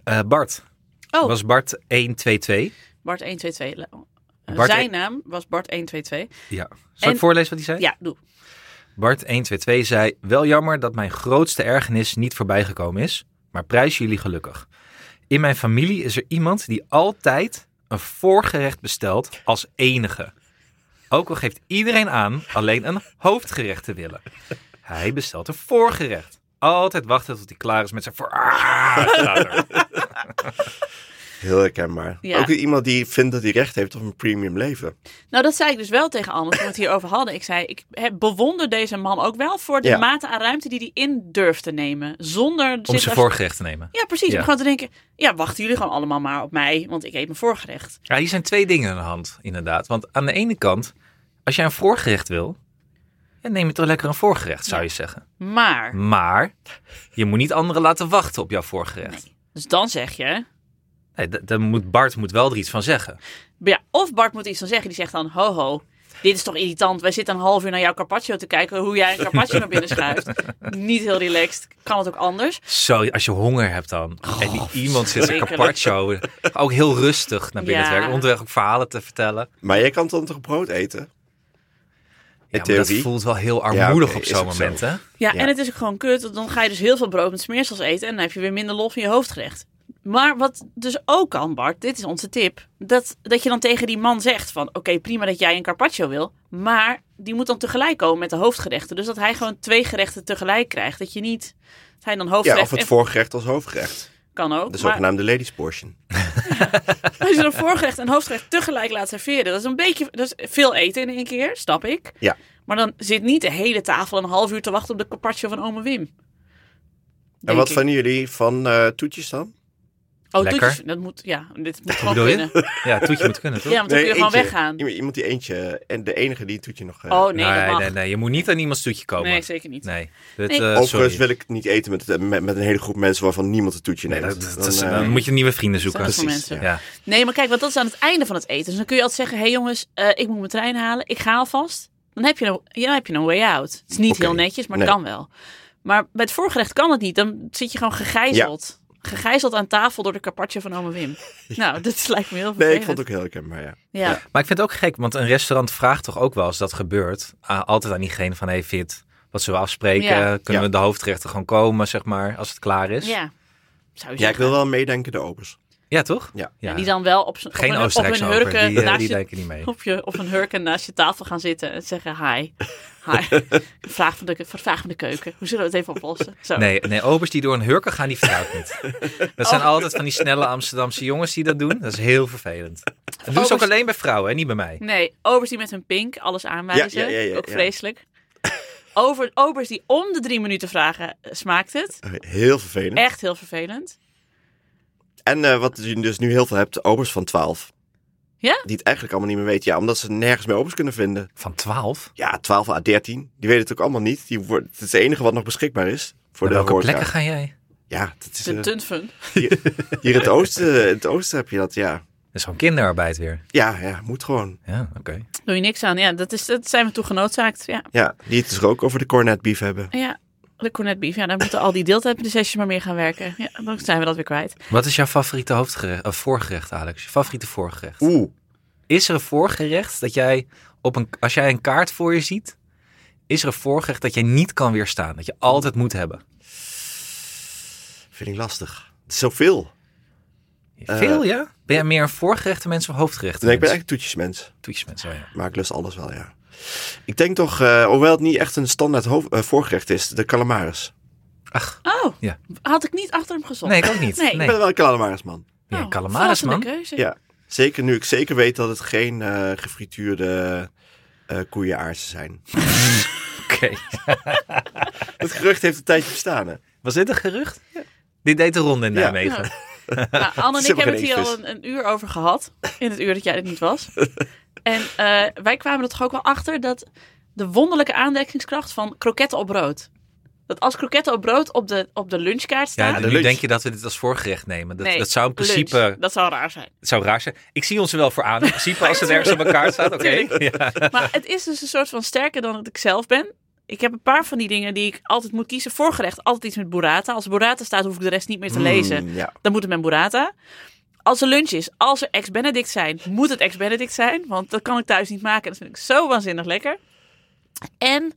Eh, Bart.
Oh.
Was Bart 122?
Bart 122. Eh,
Bart
Zijn
een-
naam was Bart 122.
Ja. Zal
En-
ik voorlezen wat hij zei?
Ja, doe.
Bart122 zei: Wel jammer dat mijn grootste ergernis niet voorbijgekomen is, maar prijs jullie gelukkig. In mijn familie is er iemand die altijd een voorgerecht bestelt als enige. Ook al geeft iedereen aan alleen een hoofdgerecht te willen. Hij bestelt een voorgerecht. Altijd wachten tot hij klaar is met zijn voor. Ah, staat er.
Heel herkenbaar.
Ja.
Ook iemand die vindt dat hij recht heeft op een premium leven.
Nou, dat zei ik dus wel tegen Anne toen we het hierover hadden. Ik zei, ik heb- bewonder deze man ook wel voor de
Ja.
mate aan ruimte die hij in durft te nemen. Zonder
Om
zich
zijn
als-
voorgerecht te nemen.
Ja, precies.
Ja.
Om gewoon te denken, ja, wachten jullie gewoon allemaal maar op mij, want ik eet mijn voorgerecht.
Ja, hier zijn twee dingen aan de hand, inderdaad. Want aan de ene kant, als jij een voorgerecht wil, ja, neem je toch lekker een voorgerecht, zou je zeggen.
Maar,
Mm. Maar je moet niet anderen laten wachten op jouw voorgerecht.
nee. Dus dan zeg je,
Nee, d- dan moet Bart moet wel er iets van zeggen.
ja, of Bart moet iets dan zeggen, die zegt dan, ho ho, Dit is toch irritant? Wij zitten een half uur naar jouw carpaccio te kijken hoe jij een carpaccio naar binnen schuift. Niet heel relaxed. Kan het ook anders?
Zo, als je honger hebt dan. en die iemand zit een
Oh, verschrikkelijk.
carpaccio. Ook heel rustig naar binnen
Ja.
te werken. Onderweg ook verhalen te vertellen.
Maar jij kan dan toch brood eten?
Ja, maar dat
theorie.
voelt wel heel armoedig
oké,
op
is
zo'n
ook zo.
moment, hè?
Ja,
Ja.
en het is ook gewoon kut. Want dan ga je dus heel veel brood met smeersels eten. En dan heb je weer minder lof in je hoofdgerecht. Maar wat dus ook kan, Bart, dit is onze tip. Dat, dat je dan tegen die man zegt van... Oké, prima dat jij een carpaccio wil. Maar die moet dan tegelijk komen met de hoofdgerechten. Dus dat hij gewoon twee gerechten tegelijk krijgt. Dat je niet... Dat hij dan hoofdgerecht
Ja, of het
en-
voorgerecht als hoofdgerecht.
kan ook.
De
maar-
zogenaamde ladies portion.
Als je dan voorgerecht en hoofdgerecht tegelijk laat serveren, dat is een beetje dat is veel eten in één keer, snap ik.
Ja.
Maar dan zit niet de hele tafel een half uur te wachten op de carpaccio van ome Wim.
En
Denk
wat
ik.
vinden jullie van eh, toetjes dan?
Oh,
Lekker.
toetjes, dat moet, ja, dit moet gewoon
Bedoel
kunnen.
je? Ja, toetje moet kunnen, toch?
Ja, want dan kun je gewoon
eentje.
weggaan.
Iemand, iemand die eentje, en de enige die een toetje nog... eh,
Oh nee,
nee,
dat mag.
nee, nee. Je moet niet aan iemands toetje komen.
Nee, zeker niet.
Nee. Dat,
Nee.
eh,
Overigens
sorry.
wil ik het niet eten met, met, met een hele groep mensen waarvan niemand een toetje
Nee,
neemt.
dat, dat- dat
Dan,
is-
eh,
dan moet je nieuwe vrienden zoeken.
Dat is voor mensen.
ja.
Ja.
Nee, maar kijk, want dat is aan het einde van het eten. Dus dan kun je altijd zeggen, hé hey jongens, eh, ik moet mijn trein halen. Ik ga alvast. Dan heb je een, ja, dan heb je nou een way out. Het is niet
Oké.
heel netjes, maar
Nee.
kan wel. Maar bij het voorgerecht kan het niet. Dan zit je gewoon gegijzeld. Gegijzeld aan tafel door de carpaccio van ome Wim. Nou, dat lijkt me heel
Nee,
vervelend.
ik vond het ook heel lekker, maar ja.
Ja.
Maar ik vind het ook gek, want een restaurant vraagt toch ook wel als dat gebeurt, a- altijd aan diegene van, hey Fit, wat zullen we afspreken?
Ja.
Kunnen
Ja.
we de hoofdrechter gewoon komen, zeg maar, als het klaar is?
ja. Zou je
Ja, ik
zeggen.
wil wel meedenken de obers.
Ja, toch?
Ja.
En die dan wel op, z'n- op,
Geen
een, op
Oostenrijkse
een
over,
hurken
die, eh,
naast
die
je-
denken niet mee.
op, je, op een hurken naast je tafel gaan zitten en zeggen hi. Hi. vraag, van de, vraag van de keuken. Hoe zullen we het even oplossen? Zo.
Nee, nee, obers die door een hurken gaan, die vertrouwt niet. Dat zijn altijd van die snelle Amsterdamse jongens die dat doen. Dat is heel vervelend. Dat doen ze ook
Obers-
alleen bij vrouwen, hè? niet bij mij.
Nee, obers die met hun pink alles aanwijzen.
Ja, ja, ja, ja,
ook
ja.
vreselijk. Over, obers die om de drie minuten vragen, eh, smaakt het?
Heel vervelend.
Echt heel vervelend.
En eh, wat je dus nu heel veel hebt, obers van 12.
Ja?
Die het eigenlijk allemaal niet meer weten. Ja, omdat ze nergens meer obers kunnen vinden.
Van 12?
Ja, 12 à 13. Die weten het ook allemaal niet. Die wordt, het is het enige wat nog beschikbaar is.
Naar
Voor de
welke
horeca.
plekken ga jij?
Ja, dat is,
De
eh,
tunfun.
hier, hier in, het oosten, in het oosten heb je dat, ja.
Dat is gewoon kinderarbeid weer.
Ja, ja, moet gewoon.
Ja, oké.
Doe je niks aan. Ja, dat, is, dat zijn we toe genoodzaakt. Ja,
Ja, die het dus ook over de cornet beef hebben.
ja. de cornet beef. Ja, daar moeten al die deeltijdprinsesjes maar meer gaan werken. Ja, dan zijn we dat weer kwijt.
Wat is jouw favoriete hoofdgerecht, eh, voorgerecht, Alex? Je favoriete voorgerecht?
Oeh,
Is er een voorgerecht dat jij, op een, als jij een kaart voor je ziet, is er een voorgerecht dat jij niet kan weerstaan? Dat je altijd moet hebben?
vind ik lastig. Het is zoveel.
Veel, ja? Ben jij meer een voorgerechte mens of hoofdgerechte
Eh, Nee, ik ben
mens?
echt toetjesmens.
Toetjesmens, oh ja.
Maar ik lust alles wel, ja. Ik denk toch, eh, hoewel het niet echt een standaard hoofd, eh, voorgerecht is, de calamaris.
Ach,
Oh,
Ja.
had ik niet achter hem gezocht.
nee, ik ook niet.
Oh. Nee.
Nee.
Ik ben wel een calamarisman.
Ja,
Oh,
calamaris,
verrassende
man.
keuze.
Ja. Zeker nu ik zeker weet dat het geen eh, gefrituurde eh koeienaarsen zijn.
Oké.
Het gerucht heeft een tijdje bestaan, hè?
Was dit een gerucht? Dit deed de ronde in
Ja.
Nijmegen.
Nou, Anne en
Ze
ik
hebben
hebben het
geen
hier al
eetvis.
een, een uur over gehad. In het uur dat jij er niet was. En eh, wij kwamen er toch ook wel achter dat de wonderlijke aandekkingskracht van kroketten op brood. Dat als kroketten op brood op de, op de lunchkaart
Ja,
staan.
de
nu
lunch.
denk je dat we dit als voorgerecht nemen. Dat,
Nee,
dat zou in principe...
lunch. Dat zou raar zijn.
Het zou raar zijn. Ik zie ons er wel voor aan. In principe, als het ergens op elkaar staat, oké. Ja.
Maar het is dus een soort van sterker dan dat ik zelf ben. Ik heb een paar van die dingen die ik altijd moet kiezen. Voorgerecht altijd iets met burrata. Als burrata staat, hoef ik de rest niet
Hmm,
meer te lezen.
Mm, ja.
dan moet het met burrata. Als er lunch is, als er ex-Benedict zijn, moet het ex-Benedict zijn. Want dat kan ik thuis niet maken. Dat vind ik zo waanzinnig lekker. En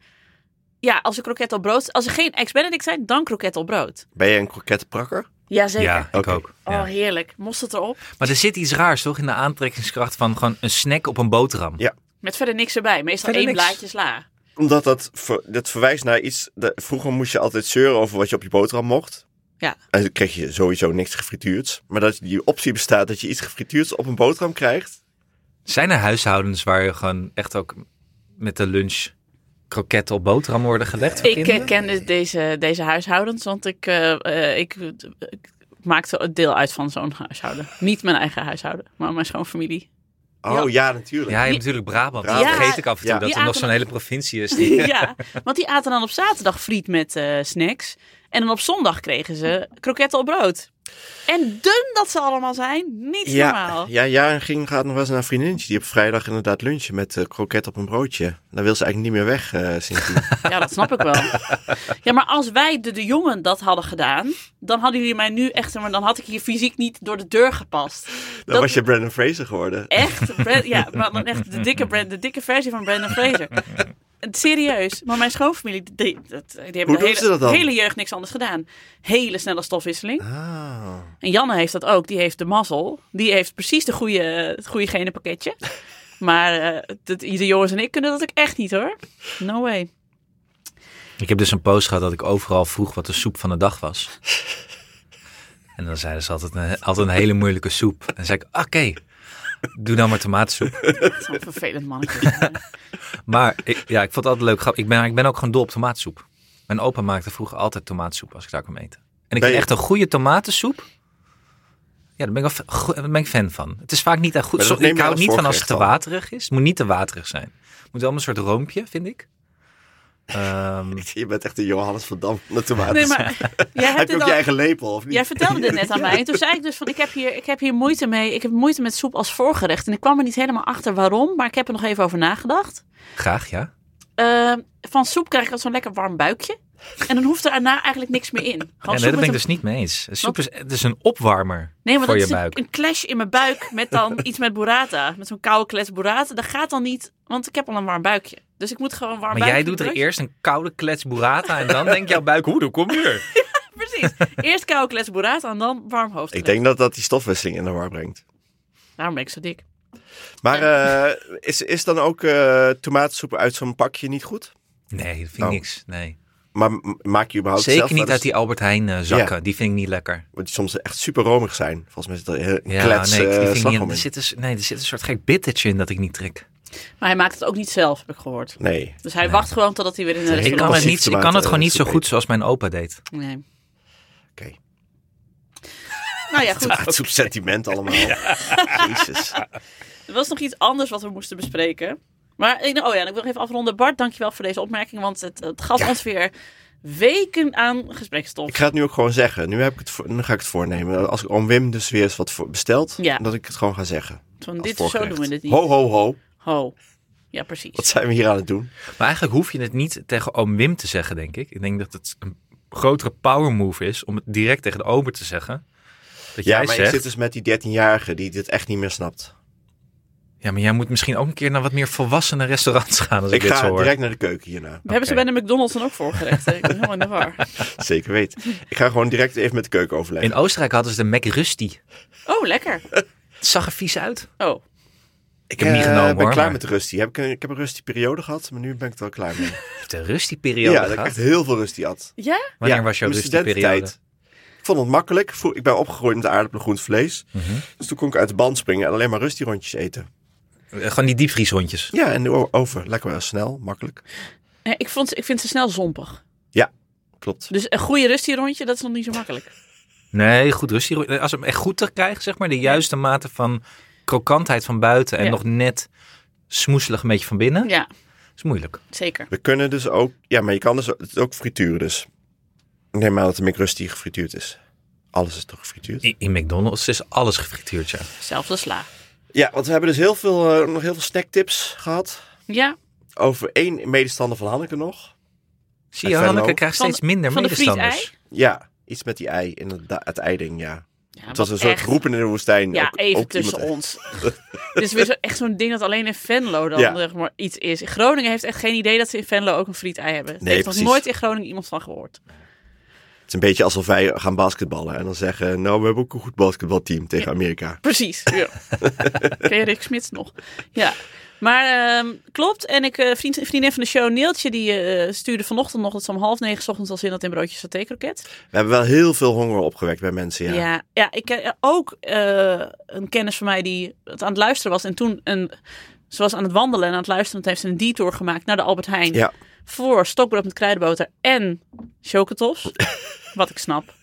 ja, als er kroket op brood... Als er geen ex-Benedict zijn, dan kroket op brood.
Ben jij een krokettenprakker?
Jazeker.
Ja, ik
Oké.
ook. Ja.
Oh, heerlijk. Mosterd erop.
Maar er zit iets raars toch in de aantrekkingskracht van gewoon een snack op een boterham.
Ja.
Met verder niks erbij. Meestal
Verder
één
niks.
blaadje sla.
Omdat dat, ver- dat verwijst naar iets... dat- vroeger moest je altijd zeuren over wat je op je boterham mocht.
Ja.
En dan kreeg je sowieso niks gefrituurds. Maar dat die optie bestaat dat je iets gefrituurds op een boterham krijgt.
Zijn er huishoudens waar je gewoon echt ook met de lunch kroketten op boterham worden gelegd? voor
Ik eh,
kinderen?
ken dus deze, deze huishoudens, want ik, eh, eh, ik, ik maakte een deel uit van zo'n huishouden. Niet mijn eigen huishouden, maar mijn schoonfamilie.
Oh,
Ja.
ja, natuurlijk.
Ja, je hebt natuurlijk Brabant. Dat
Brabant.
vergeet ik af en toe.
Ja.
Dat
Die
er nog
aten-
zo'n hele provincie is. Die...
ja, want die aten dan op zaterdag friet met eh, snacks. En dan op zondag kregen ze kroketten op brood. En dun dat ze allemaal zijn, niet normaal.
Ja, ja, Jaren ging, gaat nog wel eens naar een vriendinnetje. Die op vrijdag inderdaad lunchen met eh kroket op een broodje. Daar wil ze eigenlijk niet meer weg eh sindsdien.
Ja, dat snap ik wel. Ja, maar als wij de, de jongen dat hadden gedaan, dan hadden jullie mij nu echt, maar dan had ik hier fysiek niet door de deur gepast.
Dan was je Brandon Fraser geworden.
echt, Brand- ja, maar dan echt de dikke, Brand, de dikke versie van Brandon Fraser. Het- Serieus, maar mijn schoonfamilie, die, die, dat- die hebben
Hoe
de
doen
hele,
ze dat dan?
hele jeugd niks anders gedaan. Hele snelle stofwisseling.
Ah.
En Janne heeft dat ook, die heeft de mazzel. Die heeft precies de goede, het goede genenpakketje. Maar eh, dat- de jongens en ik kunnen dat ook echt niet hoor. No way.
Ik heb dus een post gehad dat ik overal vroeg wat de soep van de dag was. En dan zeiden ze altijd een, altijd een hele moeilijke soep. En dan zei ik, oké, doe dan maar tomaatsoep.
Zo'n vervelend mannetje.
Maar ik, ja, ik vond het altijd leuk. grap- Ik ben, ik ben ook gewoon dol op tomaatsoep. Mijn opa maakte vroeger altijd tomaatsoep als ik daar kwam eten. En ik
Ben
vind
je-
echt een goede tomatensoep. Ja, daar ben ik, wel, fa- go- daar ben ik fan van. Het is vaak niet echt goed.
Maar dat
Zo,
neem
ik
je
hou
als
niet van als het te
voorgerecht dan?
waterig is. Het moet niet te waterig zijn. Het moet wel een soort roompje, vind ik. Ehm,
Je bent echt een Johannes van Dam van de tomaten.
Nee, maar jij hebt
Heb je
dit
ook
al-
je eigen lepel of niet?
Jij vertelde dit net aan mij. En toen zei ik dus van ik heb hier, ik heb hier moeite mee. Ik heb moeite met soep als voorgerecht. En ik kwam er niet helemaal achter waarom. Maar ik heb er nog even over nagedacht.
graag, ja.
Eh, van soep krijg ik al zo'n lekker warm buikje. En dan hoeft er daarna eigenlijk niks meer in.
Ja,
Gewoon
nee,
soep
daar
met
ben ik
een-
dus niet mee eens. Soep is, het is een opwarmer
Nee, maar
voor
dat
je
is een,
buik.
een clash in mijn buik met dan iets met burrata. Met zo'n koude klets burrata. Dat gaat dan niet, want ik heb al een warm buikje. Dus ik moet gewoon warm
maar jij
buikje
doet er
brunchen.
eerst een koude klets burrata en dan denkt jouw buik, hoe, dat kom je er?
Precies. Eerst koude klets burrata en dan warm hoofd.
Ik denk dat dat die stofwisseling in de war brengt.
Daarom ben ik zo dik.
Maar eh, is, is dan ook eh tomatensoep uit zo'n pakje niet goed?
Nee, dat vind ik
Oh.
niks. Nee.
Maar m- maak je überhaupt zelf
Zeker
wel
niet
eens-
uit die Albert Heijn eh, zakken. Die vind ik niet lekker.
Want die soms echt super romig zijn. Volgens mij zit er heel een
Ja,
klets
nee, ik- die
eh,
vind ik niet,
slagroom
er,
in.
zit een, s- nee, er zit een soort gek bittertje in dat ik niet trek.
Maar hij maakt het ook niet zelf, heb ik gehoord.
Nee.
Dus hij wacht gewoon totdat hij weer in de
Ik
Ik
restaurant
kan, het
passief
niet, ik
tomaten,
kan het gewoon
eh,
niet zo
soep
goed
eten.
zoals mijn opa deed.
Nee.
Oké.
Nou ja, goed.
Tomatensoep sentiment allemaal. Jezus.
Er was nog iets anders wat we moesten bespreken. Maar, eh, nou, oh ja, en ik wil nog even afronden. Bart, dankjewel voor deze opmerking, want het, het gaf ons weer weken aan gesprekstof.
Ik ga het nu ook gewoon zeggen. Nu, heb ik het voor- nu ga ik het voornemen. Als ik oom Wim dus weer eens wat voor bestelt,
Ja.
dat ik het gewoon ga zeggen.
Van
Als
dit, zo
voorgerecht.
doen we dit niet.
Ho, ho, ho.
Ho. Ja, precies.
Wat zijn we hier aan het doen?
Maar eigenlijk hoef je het niet tegen oom Wim te zeggen, denk ik. Ik denk dat het een grotere power move is om het direct tegen de ober te zeggen. Dat
Ja,
jij
maar
zegt,
ik zit dus met die 13-jarige die dit echt niet meer snapt.
ja, maar jij moet misschien ook een keer naar wat meer volwassene restaurants gaan als ik,
Ik
dit zo
ga
hoor.
direct naar de keuken hierna.
We hebben ze
Oké.
bij de McDonald's dan ook voorgerecht. hè? Ik ben helemaal in de war.
Zeker weten. Ik ga gewoon direct even met de keuken overleggen.
In Oostenrijk hadden ze de McRusty.
Oh, lekker.
Het zag er vies uit.
Oh,
ik
heb hem niet
eh,
genomen,
ben
hoor,
klaar
maar-
met de rustie. Heb ik, een, ik heb een rustie periode gehad, maar nu ben ik er wel klaar mee.
Heeft een rusty periode
ja, dat ik
gehad?
echt heel veel rustie had.
ja?
Wanneer
Ja,
was jouw
in mijn
rusty periode?
studententijd. Ik vond het makkelijk. Vroeg- Ik ben opgegroeid met aardappelen, groent vlees.
Mhm.
Dus toen kon ik uit de band springen en alleen maar rustie rondjes eten.
Eh, Gewoon die diepvriesrondjes.
Ja, en o- over. Lekker wel snel, makkelijk.
Nee, Eh, Ik, vond, ze- ik vind ze snel zompig.
Klopt.
Dus een goede rustig rondje, dat is nog niet zo makkelijk.
Nee, goed rusty. rondje. Als we hem echt goed te krijgen, zeg maar. De juiste mate van krokantheid van buiten en
Ja.
nog net smoeselig een beetje van binnen.
Ja,
is moeilijk.
zeker.
We kunnen dus ook... Ja, maar je kan dus ook, het is ook frituren dus. Ik neem aan dat de McRusty gefrituurd is. Alles is toch gefrituurd?
In, in McDonald's is alles gefrituurd, ja.
Zelfs de sla.
Ja, want we hebben dus heel veel, eh, nog heel veel snacktips gehad.
Ja,
Over één medestander van Hanneke nog.
Zie je,
En Venlo?
Hanneke krijgt
Van-
steeds minder
van de
medestanders.
Ja, iets met die ei in het, da- het eiding, ja.
ja
Het
wat
was een soort
echt.
roepen in de woestijn.
Ja,
Nou, Ook-
even
ook
tussen
iemand-
ons. Dit is weer zo, echt zo'n ding dat alleen in Venlo dan
Ja.
zeg maar, iets is. Groningen heeft echt geen idee dat ze in Venlo ook een frietei hebben. Er
Nee,
heeft nog
precies.
nooit in Groningen iemand van gehoord.
Het is een beetje alsof wij gaan basketballen en dan zeggen... Nou, we hebben ook een goed basketbalteam tegen Amerika.
Precies. Ja. Ken je Rick Smits nog? Ja. Maar ehm, klopt. En ik, eh, vriend, vriendin van de show, Neeltje, die eh, stuurde vanochtend nog dat ze om half negen 's ochtends al zin had in broodjes satékroket.
We hebben wel heel veel honger opgewekt bij mensen, ja.
Ja. Ja, ik heb ook eh, een kennis van mij die het aan het luisteren was. En toen, een, ze was aan het wandelen en aan het luisteren. Toen heeft ze een detour gemaakt naar de Albert Heijn.
Ja.
Voor stokbrood met kruidenboter en chocotofs. wat ik snap.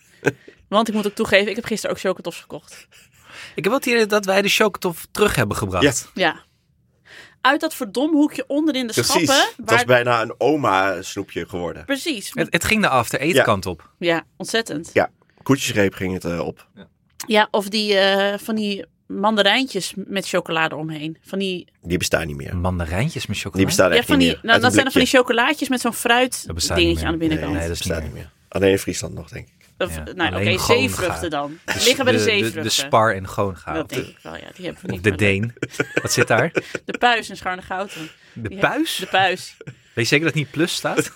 Want ik moet ook toegeven, ik heb gisteren ook chocotofs gekocht.
Ik heb wel het idee dat wij de chocotof terug hebben gebracht.
Ja.
Ja. uit dat verdomde hoekje onderin de
Precies.
schappen.
Het was
Waar...
bijna een oma snoepje geworden.
Precies.
Het, het ging de after-eat
Ja.
kant op.
Ja, ontzettend.
Ja, koetjesreep ging het eh, op.
Ja, of die eh, van die mandarijntjes met chocolade omheen. Van die,
Die bestaan niet meer.
Mandarijntjes met chocolade.
Die bestaan
ja,
echt
van
niet
die
meer.
nou, dat
Uit een
zijn er van die
blikje.
chocolaatjes met zo'n fruit
Dat bestaat niet
dingetje
meer.
aan de binnenkant.
Nee,
Nee, dat is niet
bestaan
meer.
niet meer. Alleen in Friesland nog, denk ik.
Of,
Ja,
nou, oké,
alleen gewoon
zeevruchten
gaar.
dan.
De-
Liggen bij de, zeevruchten.
de, de spar in Goonga.
Dat
Of
denk
de,
ik wel, ja. Die hebben we
of
niet
de
meer.
Deen. Wat zit daar?
De puis in Scharnegouten.
De
Ja.
puis?
De puis.
Weet je zeker dat niet plus staat?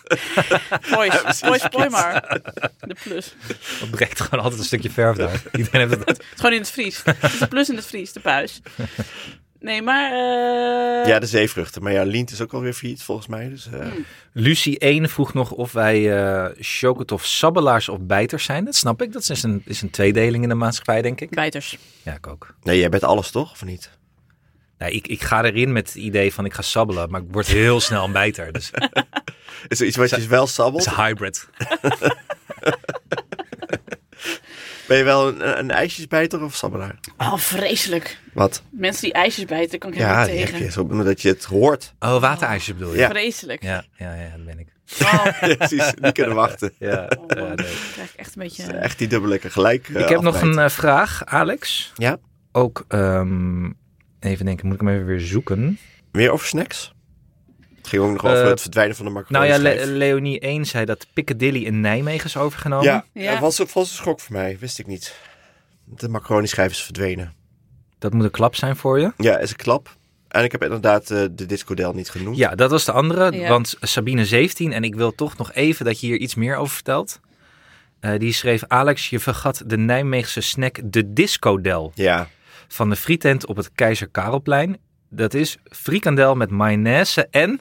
Pois. Pois, pois maar. De plus.
Dat breekt gewoon altijd een stukje verf daar. Iedereen heeft het.
Het is gewoon in het Fries. Het is de plus in het Fries, de puis. Nee, maar... eh, Hmm.
Ja, de zeevruchten. Maar ja, Lient is ook alweer failliet, volgens mij. Dus, eh,
Lucie 1 vroeg nog of wij eh Chocotof sabbelaars of bijters zijn. Dat snap ik. Dat is een, is een tweedeling in de maatschappij, denk ik.
Bijters.
Ja, ik ook.
Nee, jij bent alles, toch? Of niet?
Nee, ik, ik ga erin met het idee van ik ga sabbelen, maar ik word heel snel een bijter. Dus het
Is er iets wat je wel sabbelt?
is hybrid.
Ben je wel een, een ijsjesbijter of sabbelaar?
Oh, vreselijk.
Wat?
Mensen die ijsjes bijten, kan ik helemaal
Ja,
niet
die heb
tegen.
je. Zo, dat je het hoort.
Oh, waterijsje bedoel je?
Ja.
Vreselijk.
Ja, ja, ja, dat ben ik.
Oh,
Ja, Precies, niet kunnen wachten.
Ja,
oh,
ja,
man.
nee.
Dan krijg ik echt een beetje...
Echt die dubbele keer gelijk. eh,
Ik heb nog een
afbijten.
eh, vraag, Alex.
Ja?
Ook, ehm, even denken, moet ik hem even weer zoeken? Nou
Meer over snacks? Het ging ook nog over
Eh,
het verdwijnen van de macaroni
Nou ja, Le- Leonie 1 zei dat Piccadilly in Nijmegen is overgenomen.
Ja,
Ja.
dat was, dat was een schok voor mij. Wist ik niet. De macaroni schijf is verdwenen.
Dat moet een klap zijn voor je.
Ja, is een klap. En ik heb inderdaad eh, de discodel niet genoemd.
Ja, dat was de andere,
Ja.
want Sabine 17, en ik wil toch nog even dat je hier iets meer over vertelt. Eh, die schreef, Alex, je vergat de Nijmeegse snack de discodel
Ja,
van de frietent op het Keizer Karelplein. Dat is frikandel met mayonaise en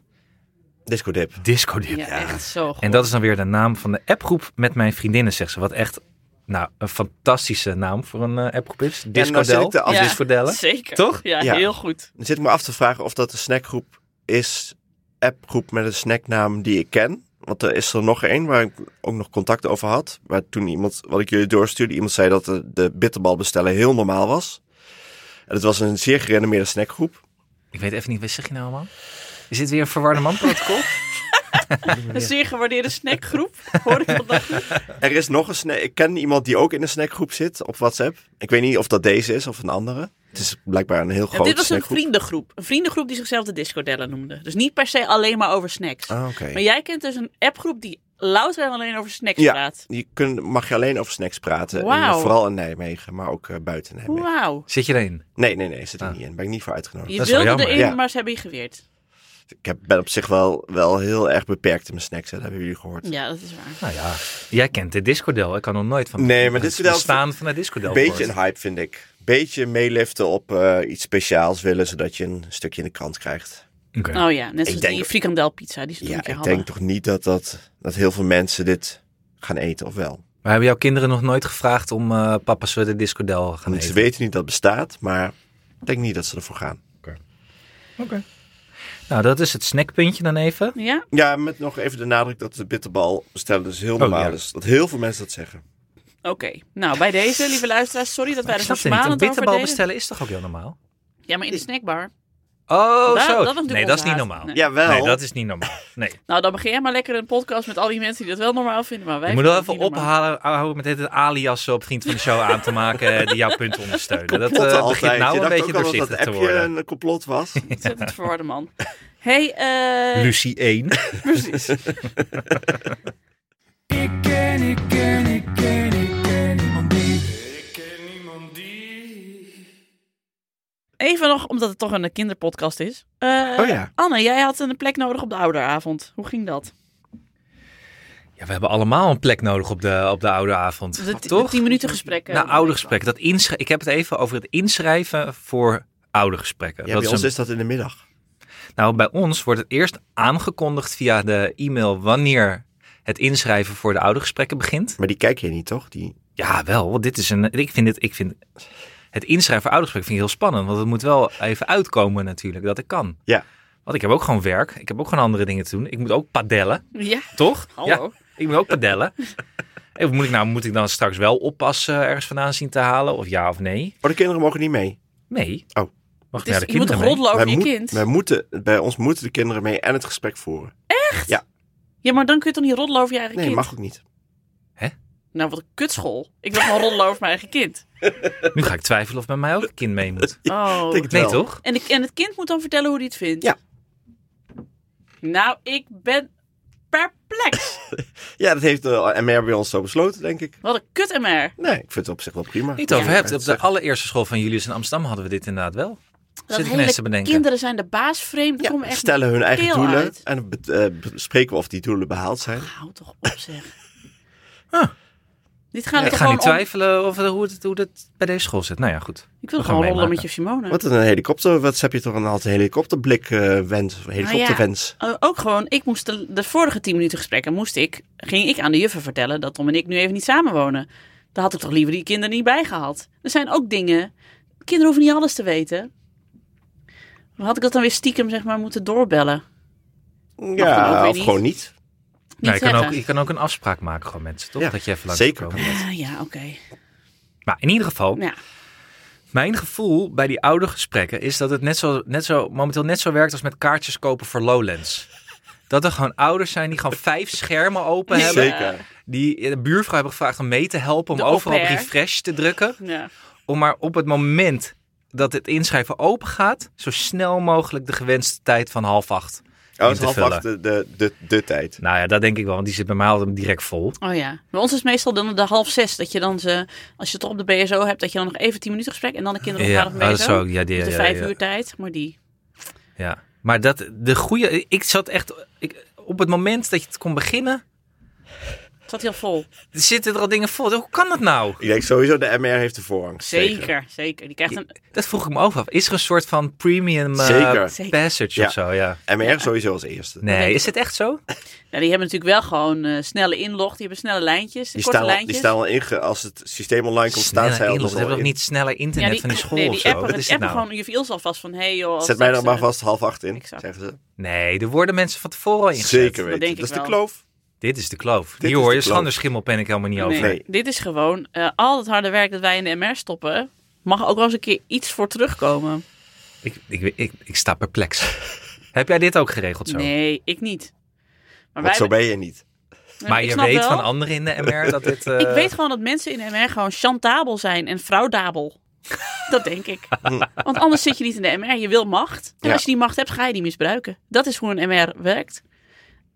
discodip.
discodip.
Ja, echt zo goed.
En dat is dan weer de naam van de appgroep met mijn vriendinnen, zegt ze. Wat echt nou, een fantastische naam voor een eh, appgroep is.
zit ik
Discodel.
te af-
Of
Ja.
Discodellen.
Zeker.
Toch?
Ja,
Ja.
heel goed.
Dan zit ik me af te vragen of dat een snackgroep is, appgroep met een snacknaam die ik ken. Want er is er nog één waar ik ook nog contact over had. Waar toen iemand, wat ik jullie doorstuurde, iemand zei dat de, de bitterbal bestellen heel normaal was. En het was een zeer gerenommeerde snackgroep.
Ik weet even niet, wat zeg je nou man? Is dit weer een verwarde manprotocol?
Een zeer gewaardeerde snackgroep, hoor ik vandaag.
Er is nog een snack. Ik ken iemand die ook in een snackgroep zit op WhatsApp. Ik weet niet of dat deze is of een andere. Het is blijkbaar een heel
En
groot
dit was een
snackgroep.
vriendengroep. Een vriendengroep die zichzelf de discodellen noemde. Dus niet per se alleen maar over snacks.
Ah, oké.
Maar jij kent dus een appgroep die louter en alleen over snacks
Ja.
praat.
Je kunt, mag je alleen over snacks praten. En
Wauw.
vooral in Nijmegen, maar ook eh, buiten Nijmegen.
Wauw.
Zit je erin?
Nee, nee, nee, zit ik
Ah.
niet in. Ben ik niet voor uitgenodigd.
Je
Dat is wel
wilde
jammer.
erin,
Ja.
maar ze hebben je geweerd.
Ik heb, ben op zich wel, wel heel erg beperkt in mijn snacks, hè. dat hebben jullie gehoord.
Ja, dat is waar.
Nou ja, jij kent de discodel. Ik kan nog nooit van
Nee, maar
het
discodel is-
bestaan van de discodel.
Een beetje
gehoord.
een hype, vind ik. Beetje meeliften op eh, iets speciaals willen, zodat je een stukje in de krant krijgt.
Oké.
Oh ja, net zoals
denk-
die frikandelpizza die ze toen
Ja,
een
ik
keer hadden.
denk toch niet dat, dat, dat heel veel mensen dit gaan eten, of wel?
Maar hebben jouw kinderen nog nooit gevraagd om eh papa zullen de discodel gaan
Ze
eten?
weten niet dat het bestaat, maar ik denk niet dat ze ervoor gaan.
Nou, dat is het snackpuntje dan even.
Ja,
Ja, met nog even de nadruk dat de bitterbal bestellen dus heel
Oh,
normaal
ja.
is. Dat heel veel mensen dat zeggen.
oké. Nou, bij deze, lieve luisteraars, sorry dat wij
Ik
er zo
snap het niet. Een
smalend over
bitterbal
deden.
bestellen is toch ook heel normaal?
Ja, maar in de snackbar.
Oh,
Daar- dat
zo.
was natuurlijk
nee, dat is niet
onverhaald.
normaal.
Nee.
Jawel.
Nee, dat is niet normaal. Nee.
Nou, dan begin jij maar lekker een podcast met al die mensen die dat wel normaal vinden. Maar wij
Je moet wel
vinden
even
het niet normaal.
ophalen, houden met het alias op vriend van de show aan te maken eh, die jouw punt ondersteunen. Dat eh,
Complotten
begint
altijd.
nou
je
een
dacht
beetje
ook al dat
doorzichtig
dat
te
appje
worden.
een complot was.
Ontzettend verwarde man. hey, eh,
Lucie 1.
precies.
Ik ken, ik ken, ik ken, ik ken niemand die.
Ik ken niemand die.
Even nog, omdat het toch een kinderpodcast is. Eh,
Oh ja.
Anne, jij had een plek nodig op de ouderavond. Hoe ging dat?
Ja, we hebben allemaal een plek nodig op de, op de oude avond.
De,
toch?
10 minuten gesprekken.
Nou, oude gesprekken. Dat inschri- ik heb het even over het inschrijven voor oude gesprekken.
Ja,
dat
bij
is
ons
een-
is dat in de middag.
Nou, bij ons wordt het eerst aangekondigd via de e-mail wanneer het inschrijven voor de oude gesprekken begint.
Maar die kijk je niet, toch? Die...
Ja, wel. Want dit is een. Ik vind dit. Ik vind het inschrijven voor oude gesprekken vind ik heel spannend. Want het moet wel even uitkomen natuurlijk dat ik kan.
Ja.
Want ik heb ook gewoon werk. Ik heb ook gewoon andere dingen te doen. Ik moet ook padellen,
Ja, Oh,
toch? Ja,
hallo.
ik moet ook padellen. En Moet ik, nou, moet ik dan straks wel oppassen ergens vandaan zien te halen? Of ja of nee?
Oh, de kinderen mogen niet mee.
Nee.
Oh.
Mag
Het
ik
is-
naar de
je moet toch
kinderen mee?
roddelen over je
moet-
kind?
wij moeten, bij ons moeten de kinderen mee en het gesprek voeren.
Ja, maar dan kun je toch niet roddelen over je eigen
Nee,
kind?
mag ook niet.
Nou, wat een kutschool. Ik wil gewoon roddelen over mijn eigen kind.
Nu ga ik twijfelen of met mij ook een kind mee moet.
Oh.
denk het
Nee,
wel.
toch?
En, de- en het kind moet dan vertellen hoe hij het vindt?
Ja.
Nou, ik ben perplex.
Ja, dat heeft de MR bij ons zo besloten, denk ik.
Wat een kut MR.
Nee, ik vind het op zich wel prima.
Niet over
Ja.
hebt. Op de allereerste school van Julius in Amsterdam hadden we dit inderdaad wel.
Dat
Zit ik
hele
ineens te bedenken.
kinderen zijn de baas vreemd.
Ja,
Ja, echt...
stellen hun eigen
keel
doelen
uit.
en be- eh, bespreken we of die doelen behaald zijn.
Hou toch op zeg.
Huh.
Dit gaat
Ah. Ik
toch
ga
gewoon
nu
om-
twijfelen of, hoe, het, hoe dat bij deze school zit. Nou ja, goed.
Ik wil
We gaan
gewoon roddelen met
meemaken.
je Simone.
Wat een helikopter, wat heb je toch een altijd helikopterblik eh wens, of helikopterwens.
Eh, ook gewoon, ik moest de, de vorige tien minuten gesprekken moest ik, ging ik aan de juffen vertellen dat Tom en ik nu even niet samenwonen. Daar had ik toch liever die kinderen niet bij gehad. Er zijn ook dingen. Kinderen hoeven niet alles te weten. Dan had ik dat dan weer stiekem zeg maar moeten doorbellen.
Ja,
dan ook weer
of
niet.
gewoon niet.
Niet
Nou, je, kan
zeggen.
ook, je kan ook een afspraak maken gewoon met ze, toch?
Ja,
dat je even langs
zeker.
Komen.
Ah, ja, oké.
Maar in ieder geval,
Nou,
mijn gevoel bij die oude gesprekken is dat het net zo, net zo, momenteel net zo werkt als met kaartjes kopen voor Lowlands. Dat er gewoon ouders zijn die gewoon vijf schermen open
Nee.
hebben.
Zeker.
Die eh, de buurvrouw hebben gevraagd om mee te helpen. Om
De au
overal op
pair.
refresh te drukken.
ja.
Om maar op het moment dat het inschrijven open gaat. Zo snel mogelijk de gewenste tijd van half acht. in
Oh, het
te
half
vullen.
acht de, de, de, de tijd.
Nou ja, dat denk ik wel. Want die zit bij mij altijd direct vol.
Oh ja. Bij ons is meestal dan de half zes dat je dan ze, als je het toch op de BSO hebt, dat je dan nog even tien minuten gesprek en dan de kinderen op
ja,
gaan
oh,
nog
dat
BSO.
is ook. Ja, die,
Dus de
ja,
vijf
ja.
uur tijd, zeg maar die.
Ja, maar dat, de goede. Ik zat echt. Ik, op het moment dat je het kon beginnen,
Het zat heel vol.
zitten er al dingen vol. Hoe kan dat nou?
Ik denk sowieso, de MR heeft de voorrang.
Zeker, zeker. Die krijgt een
Dat vroeg ik me ook af. Is er een soort van premium eh,
Zeker.
Zeker.
passage
Ja.
of zo? Ja.
MR sowieso als eerste.
Nee, is het echt zo?
Nou, die hebben natuurlijk wel gewoon eh, snelle inlog. Die hebben snelle lijntjes,
Die
korte
staan, al-
lijntjes.
die staan al inge... Als het systeem online komt, staan zij al
inlog.
dus
Ze
al
hebben nog
in.
niet sneller internet van die school
nee,
of
die
zo?
appen,
Wat
die
is het
appen
nou?
gewoon juf Ils alvast van... Hey joh, als
Zet mij dan
straks,
maar
eh,
vast half acht in,
Exact.
zeggen ze.
Nee, er worden mensen van tevoren al ingezet.
Zeker weten.
denk
Dat is
ik
de
wel.
kloof.
Dit is de kloof.
Dit
Hier
is
hoor
de
je,
kloof.
schanderschimmel ben ik helemaal niet
nee,
over.
Nee.
Dit is gewoon eh, al het harde werk dat wij in de MR stoppen. Mag ook wel eens een keer iets voor terugkomen.
Ik, ik, ik, ik sta perplex. Heb jij dit ook geregeld zo?
Nee, ik niet. Maar
Want zo
hebben-
ben je niet.
Nou,
Maar
ik
je
snap
weet
wel.
van anderen in de MR dat dit... eh,
Ik weet gewoon dat mensen in de MR gewoon chantabel zijn en fraudabel. dat denk ik.
Hm.
Want anders zit je niet in de MR. Je wil macht. En
Ja.
als je die macht hebt, ga je die misbruiken. Dat is hoe een MR werkt.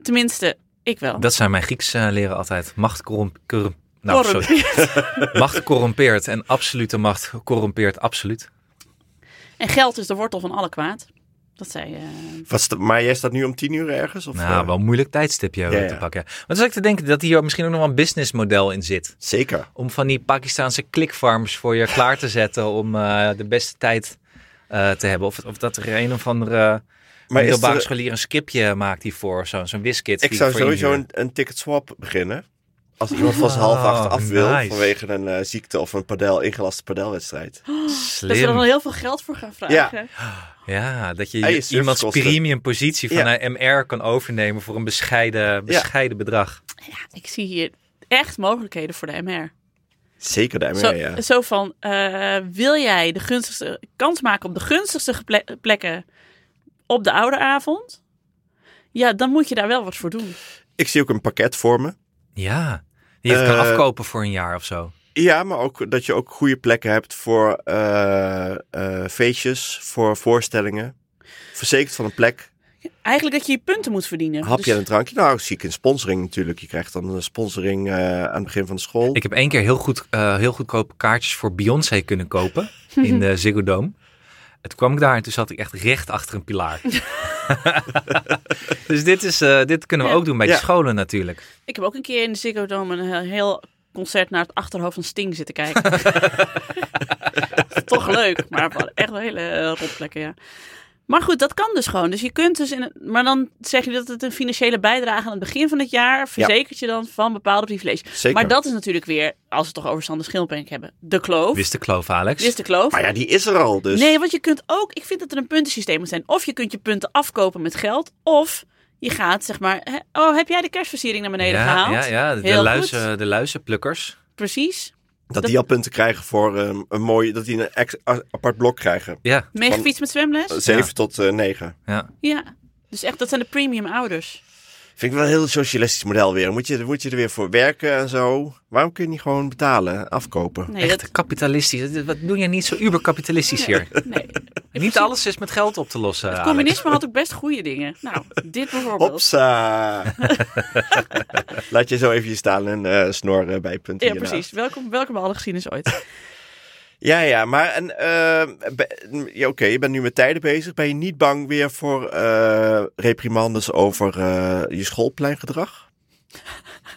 Tenminste, ik wel.
Dat zijn mijn Grieks eh, leren altijd. Macht corromp- corrump- nou,
Korrup.
sorry. Macht corrompeert en absolute macht corrompeert absoluut.
En geld is de wortel van alle kwaad. Dat zei eh,
Wat sta- maar jij staat nu om tien uur ergens? Of,
Nou,
eh,
wel een moeilijk tijdstipje
Ja, ja.
te pakken. Maar dan zat ik te denken dat hier misschien ook nog wel een businessmodel in zit.
Zeker.
Om van die Pakistaanse klikfarms voor je klaar te zetten om eh, de beste tijd eh, te hebben. Of, of dat er een of andere
Maar is
middelbare
er-
scholier een skipje maakt hiervoor. Zo'n zo'n wiskit.
Ik zou sowieso een, een ticket swap beginnen. Als iemand van zijn half acht af wil
Ah, nice.
vanwege een eh, ziekte of een padel, ingelaste padelwedstrijd.
dat ze er dan
Slim.
heel veel geld voor gaan vragen.
Ja, dat je,
En je
je iemands
servicekosten.
premium positie van
Ja.
een MR kan overnemen voor een bescheiden, bescheiden bedrag.
Ja, ik zie hier echt mogelijkheden voor de MR.
Zeker de MR,
Zo,
ja.
zo van, eh, wil jij de gunstigste kans maken op de gunstigste geple- plekken op de oude avond? Ja, dan moet je daar wel wat voor doen.
Ik zie ook een pakket voor me.
Ja, die je het kan
Eh,
afkopen voor een jaar of zo.
Ja, maar ook dat je ook goede plekken hebt voor eh, eh, feestjes, voor voorstellingen. Verzekerd van een plek,
Eigenlijk dat je je punten moet verdienen.
een hapje
Dus-
en een drankje. Nou, zie ik in sponsoring natuurlijk. Je krijgt dan een sponsoring eh, aan het begin van de school.
Ik heb één keer heel, goed, eh heel goedkope kaartjes voor Beyoncé kunnen kopen in de Ziggo Dome. En toen kwam ik daar en toen zat ik echt recht achter een pilaar. dus dit, is, eh, dit kunnen we
Ja.
ook doen bij
Ja.
de scholen natuurlijk.
Ik heb ook een keer in de Ziggo Dome een he- heel concert naar het achterhoofd van Sting zitten kijken. Toch leuk, maar wel echt wel hele eh, rotplekken, ja. Maar goed, dat kan dus gewoon. Dus je kunt dus in het- maar dan zeg je dat het een financiële bijdrage aan het begin van het jaar verzekert je dan van bepaalde privileges.
Zeker.
Maar dat is natuurlijk weer, als we het toch over Sander Schimmelpenninck hebben, de kloof.
Wist de kloof, Alex.
Dit is de kloof.
Maar ja, die is er al, dus
Nee, want je kunt ook, ik vind dat er een puntensysteem moet zijn. Of je kunt je punten afkopen met geld, of je gaat zeg maar, hè, oh heb jij de kerstversiering naar beneden
ja,
gehaald?
ja, ja,
Heel
de,
goed.
luizen, de luizenplukkers.
Precies.
Dat, die al punten krijgen voor ehm, een mooie, dat die een ex- a- apart blok krijgen.
Ja,
Meegefietst met zwemles?
Eh, Zeven
Ja.
tot eh, negen.
ja.
Ja. Dus echt, dat zijn de premium ouders.
Vind ik wel een heel socialistisch model weer. Moet je, moet je er weer voor werken en zo. Waarom kun je niet gewoon betalen, afkopen?
Nee,
Echt kapitalistisch. Wat doe je niet zo uberkapitalistisch hier?
dat, nee.
Niet alles is met geld op te lossen.
Het
Alex.
communisme had ook best goede dingen. Nou, dit bijvoorbeeld.
Hopsa! Laat je zo even je stalen en snor eh, bijpunten
Ja,
hierna.
precies. Welkom, welkom bij alle geschiedenis ooit.
Ja, ja, maar en, eh, be- ja, oké, je bent nu met tijden bezig. Ben je niet bang weer voor eh, reprimandes over eh, je schoolpleingedrag?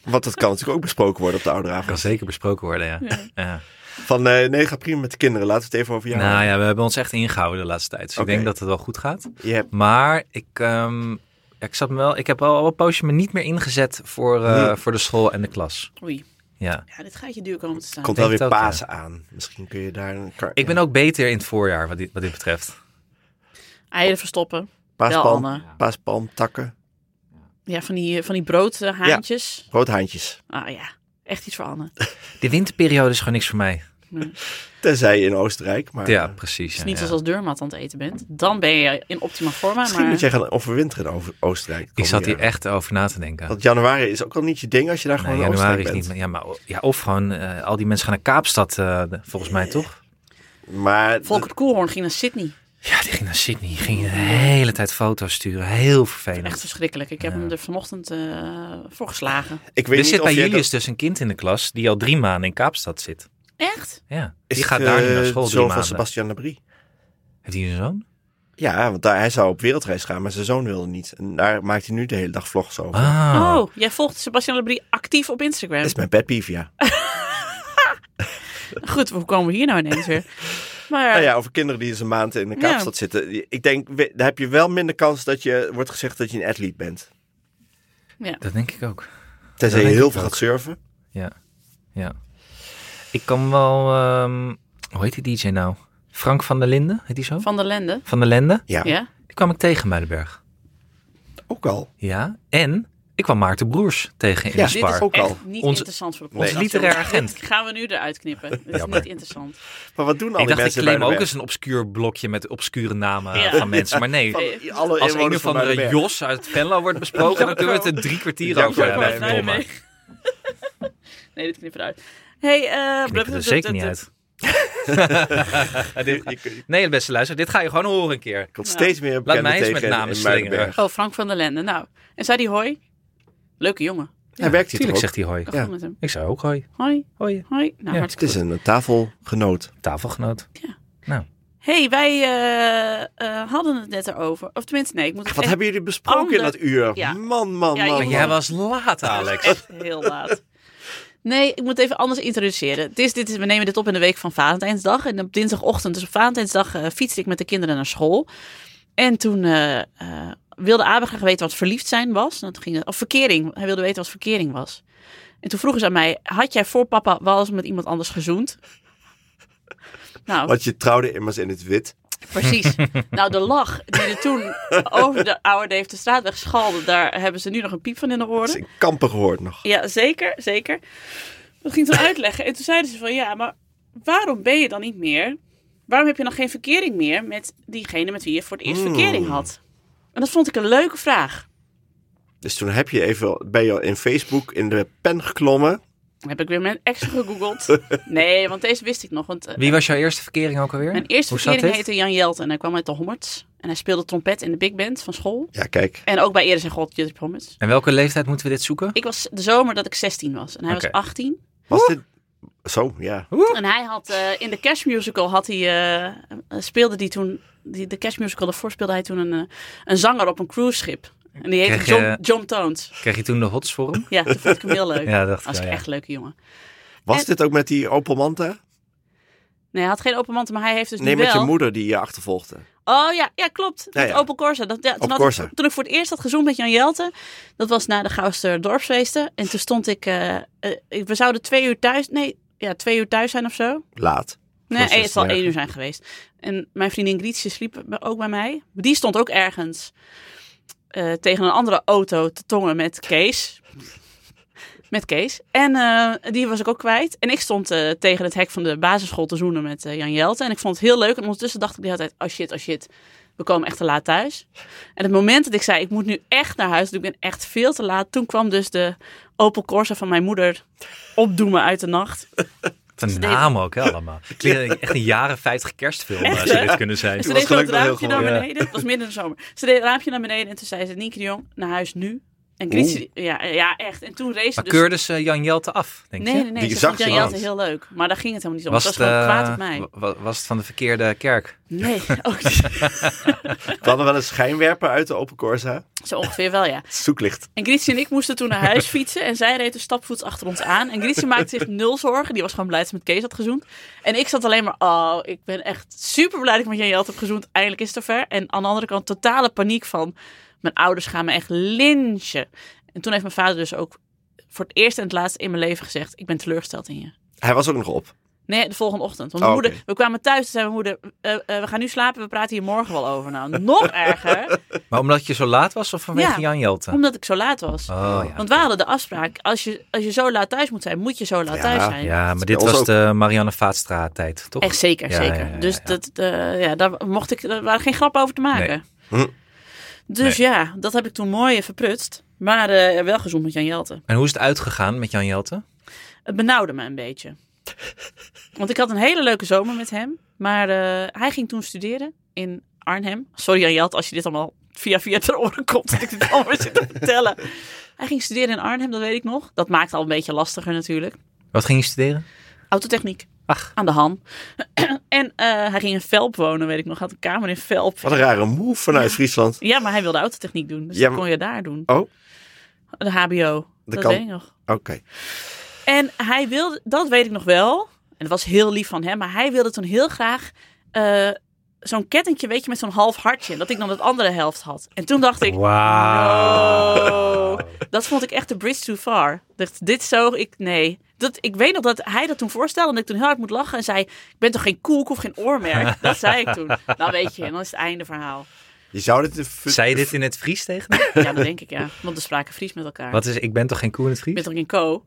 Want dat kan natuurlijk ook besproken worden op de ouderavond.
Kan zeker besproken worden, ja. ja.
Van eh, nee, ga prima met de kinderen. Laten we het even over jou
Nou
hebben.
ja, we hebben ons echt ingehouden de laatste tijd. Dus
Oké.
ik denk dat het wel goed gaat.
Je hebt-
Maar ik, ehm, ja, ik, zat me wel, ik heb al, al een poosje me niet meer ingezet voor, eh,
Nee.
voor de school en de klas.
Oei.
Ja.
Ja, dit gaat je duur komen te staan.
komt wel
denk
weer
het ook,
Pasen aan. Misschien kun je daar een kar-
Ik ben
ja.
ook beter in het voorjaar wat dit, wat dit betreft.
Eieren verstoppen.
paaspalm,
wel, Anne.
paaspalm, takken,
Ja, van die, eh, van die broodhaantjes.
roodhaantjes.
Ah ja, echt iets voor Anne.
De winterperiode is gewoon niks voor mij.
Tenzij je in Oostenrijk, maar
Ja,
eh,
precies.
Dus
ja,
niet
ja.
als als deurmat aan het eten bent. Dan ben je in optima forma.
misschien
maar...
moet jij gaan overwinteren in Over- Oostenrijk. de
Ik zat
komende
hier
jaren.
echt over na te denken.
Want januari is ook al niet je ding als je daar
Nee,
gewoon in
januari
Oostenrijk
is
bent.
niet. meer- Ja, maar, ja, of gewoon eh, al die mensen gaan naar Kaapstad, eh, de- volgens mij toch?
Maar
Volkert Koelhoorn ging naar Sydney.
Ja, die ging naar Sydney. Die ging de hele tijd foto's sturen. Heel vervelend.
Echt verschrikkelijk. Ik heb hem er vanochtend eh, voor geslagen.
ik weet
Er
niet
zit
of
bij
jij dat-
Julius dus een kind in de klas die al drie maanden in Kaapstad zit.
Echt?
Ja,
Is
die gaat
het,
daar nu
eh,
naar school
de
drie
zoon van
maanden.
Sebastian Labrie.
Heeft hij een zoon?
Ja, want daar, hij zou op wereldreis gaan, maar zijn zoon wilde niet. En daar maakt hij nu de hele dag vlogs over.
Ah,
Oh, jij volgt Sebastian Labrie actief op Instagram.
Dat is mijn pet peeve, ja.
Goed, hoe komen we hier nou ineens weer? Maar
Oh
Nou ja, over kinderen die eens een maand in de
Ja.
Kaapstad zitten. Ik denk, we- daar heb je wel minder kans dat je wordt gezegd dat je een atleet bent.
dat denk ik ook.
Tenzij
Dat
je
denk
heel
ik
veel
ook.
gaat surfen.
Ja, ja. Ik kan wel... ehm, hoe heet die DJ nou? Frank van der Linden, heet die zo?
Van der Lende.
Van der Lende.
Ja,
Ja?
Die kwam ik tegen bij de berg.
ook al.
Ja, en ik kwam Maarten Broers tegen in
Ja,
de
dit
Spar.
is ook al.
Echt niet
Onze-
interessant voor de
onze
podcast.
literair
jongens.
agent.
Dit gaan we nu eruit knippen. Dit is
Jammer.
niet interessant.
Maar wat doen al
Ik
die
dacht, ik
mensen bij
claim
de
ook
berg?
eens een obscuur blokje met obscure namen
Ja.
van mensen. Maar nee,
Van-
Alle
als een
inwoners
of
van
andere
Muidenberg.
Jos uit Venlo wordt besproken, dan kunnen we het er drie kwartier
Janko
over
uit
hebben.
Nee,
Verdomme.
nee. Nee, dit knippen we eruit. Hey, eh,
Knip het er zeker niet uit.
Je- je- je
Nee, beste luister, dit ga je gewoon horen een keer.
komt steeds meer
Laat
bekenden
mij eens
tegen
met
in-
namen
in
slingeren.
Muidenberg.
Oh, Frank van der Lende. Nou, en zei die hoi? Leuke jongen.
Hij werkt hier toch
Tuurlijk
ook?
zegt hij hoi.
Ik
Ja.
ja. met hem.
Ik zei ook hoi.
Hoi,
Hoi.
hoi. Nou,
Ja.
Het is
hartstikke goed.
een eh, tafelgenoot.
Tafelgenoot.
Hey, wij eh, eh, hadden het net erover. Of tenminste, nee, ik moet het
Wat
echt-
hebben jullie besproken in
ander-
dat uur?
Ja.
Man, man,
Ja,
man.
je-
Jij was laat, Alex.
Echt heel laat. Nee, ik moet het even anders introduceren. Het is, dit is, we nemen dit op in de week van Valentijnsdag. En op dinsdagochtend, dus op Valentijnsdag, eh, fietste ik met de kinderen naar school. En toen eh, eh, wilde Abe graag weten wat verliefd zijn was. Nou, toen ging het, of verkering. Hij wilde weten wat verkering was. En toen vroegen ze aan mij, had jij voor papa wel eens met iemand anders gezoend? Nou,
Want je trouwde immers in het wit.
Precies. nou, de lach die er toen over de oude Dave de Straatweg schalde, daar hebben ze nu nog een piep van in de
Dat is
oren.
in kampen gehoord nog.
Ja, zeker, zeker. Dat ging toen uitleggen. En toen zeiden ze van, ja, maar waarom ben je dan niet meer... Waarom heb je dan geen verkering meer met diegene met wie je voor het
Hmm.
eerst verkering had? En dat vond ik een leuke vraag.
Dus toen heb je even, ben je in Facebook in de pen geklommen.
Dan heb ik weer mijn ex gegoogeld. Nee, want deze wist ik nog. Want eh,
Wie was jouw eerste verkering ook alweer?
mijn eerste
Hoe zat
verkering
dit?
heette Jan Jelt en hij kwam uit de Hommerts. En hij speelde trompet in de big band van school.
Ja, kijk.
En ook bij Eres en God, Judith Hommerts.
En welke leeftijd moeten we dit zoeken?
Ik was de zomer dat ik 16 was. En hij
Oké.
was 18.
Was dit... Zo, ja.
En hij had eh, in de Cash Musical had hij, eh, eh, speelde die toen. Die, de Cash Musical daarvoor speelde hij toen een, eh, een zanger op een cruiseschip. En die heette
Krijg je-
John, John Tones.
Kreeg je toen de hots voor hem?
Ja, dat vond ik hem heel leuk.
Ja, dacht ik
Als
wel,
ik
ja.
echt een leuke jongen.
Was
En-
dit ook met die Opel Manta?
Nee, hij had geen open mantel, maar hij heeft dus
Nee,
nu
met
wel.
je moeder die je achtervolgde.
Oh ja, ja klopt.
Ja,
met
ja.
Opel Corsa. Dat, ja, toen,
Opel
had
Corsa.
Ik, toen ik voor het eerst had gezoend met Jan Jelte. Dat was na de Gouster dorpsfeesten. En toen stond ik... eh, eh, ik- we zouden twee uur thuis... Nee, ja, twee uur thuis zijn of zo.
Laat.
Nee,
Proces
het zal
te
één uur zijn geweest. En mijn vriendin Grietje sliep bij- ook bij mij. Die stond ook ergens eh, tegen een andere auto te tongen met Kees. Met Kees. En eh, die was ik ook kwijt. En ik stond eh, tegen het hek van de basisschool te zoenen met eh, Jan Jelte. En ik vond het heel leuk. En ondertussen dacht ik de hele tijd, oh shit, oh shit. We komen echt te laat thuis. En het moment dat ik zei, ik moet nu echt naar huis. want Ik ben echt veel te laat. Toen kwam dus de Opel Corsa van mijn moeder opdoemen uit de nacht.
Wat een naam ook hè, allemaal. Het klinkt echt een jaren 50 kerstfilm eh,
Echt,
zou
hè?
dit kunnen zijn.
Ze deed zo het
gelukkig wel heel
raampje naar
gewoon, ja.
beneden. Het was midden in de zomer. Ze deed het raampje naar beneden. En toen zei ze, Nienke de Jong, naar huis nu. En Grietje, ja, ja, echt. En toen race
Maar
dus...
keurde ze Jan Jelte af, denk je?
Nee, nee, nee.
Die
ze
zag
vond
ze
Jan Jelte
niet.
heel leuk. Maar daar ging het helemaal niet om.
Was,
ze was
het,
gewoon
eh,
kwaad op mij.
wa- was het van de verkeerde kerk?
Nee, oh, ook niet.
We hadden wel een schijnwerper uit de Opel Corsa.
Zo ongeveer wel, ja.
Zoeklicht.
En Grietje en ik moesten toen naar huis fietsen. En zij reed dus stapvoets achter ons aan. En Grietje maakte zich nul zorgen. Die was gewoon blij dat ze met Kees had gezoend. En ik zat alleen maar, oh, ik ben echt super blij dat ik met Jan Jelt heb gezoend. Eindelijk is het zover. En aan de andere kant totale paniek van, mijn ouders gaan me echt lynchen. En toen heeft mijn vader dus ook voor het eerst en het laatst in mijn leven gezegd, ik ben teleurgesteld in je.
Hij was ook nog op.
Nee, de volgende ochtend. Want mijn
Oh,
moeder,
oké.
we kwamen thuis en zei mijn moeder, eh, eh, we gaan nu slapen, we praten hier morgen wel over. Nou, nog erger,
Maar omdat je zo laat was of vanwege
Ja.
Jan Jelte?
omdat ik zo laat was.
Oh ja.
Want we hadden de afspraak, als je, als je zo laat thuis moet zijn, moet je zo laat
Ja,
thuis zijn.
Ja, maar dit
Bij ons
was
ook.
de Marianne Vaatstra tijd, toch?
Echt zeker,
Ja,
zeker.
ja, ja, ja,
Dus
ja.
dat, eh, ja, daar mocht ik, daar waren geen grappen over te maken.
Nee. Hm.
Dus ja, dat heb ik toen mooi verprutst. Maar eh, wel gezond met Jan Jelte.
En hoe is het uitgegaan met Jan Jelte?
Het benauwde me een beetje. Want ik had een hele leuke zomer met hem. Maar eh, hij ging toen studeren in Arnhem. Sorry Jan Jelte als je dit allemaal via via ter oren komt. Dat ik dit allemaal zit te vertellen. Hij ging studeren in Arnhem, dat weet ik nog. Dat maakt het al een beetje lastiger natuurlijk.
Wat ging je studeren?
Autotechniek.
Ach.
Aan de ham. en eh, hij ging in Velp wonen, weet ik nog. Had een kamer in Velp.
Wat een rare move vanuit Friesland.
Ja, maar hij wilde autotechniek doen. Dus
Ja,
dat
maar-
kon je daar doen.
Oh.
De HBO.
De
dat
kan-
weet ik nog.
Oké.
En hij wilde, dat weet ik nog wel. En dat was heel lief van hem. Maar hij wilde toen heel graag eh, zo'n kettingje, weet je, met zo'n half hartje. Dat ik dan het andere helft had. En toen dacht ik,
Wauw.
no. Oh, Dat vond ik echt de bridge too far. Ik Dacht, dit zo, ik, nee. Dat, ik weet nog dat hij dat toen voorstelde en dat ik toen heel hard moet lachen. En zei, ik ben toch geen koek of geen oormerk? Dat zei ik toen. Nou weet je, en dan is het einde verhaal.
Je zou dit... een fu-
Zei je dit in het Fries tegen me?
Ja, dat denk ik ja. Want we spraken Fries met elkaar.
Wat is, ik ben toch geen koe in het
Ik ben
Fries?
toch geen ko?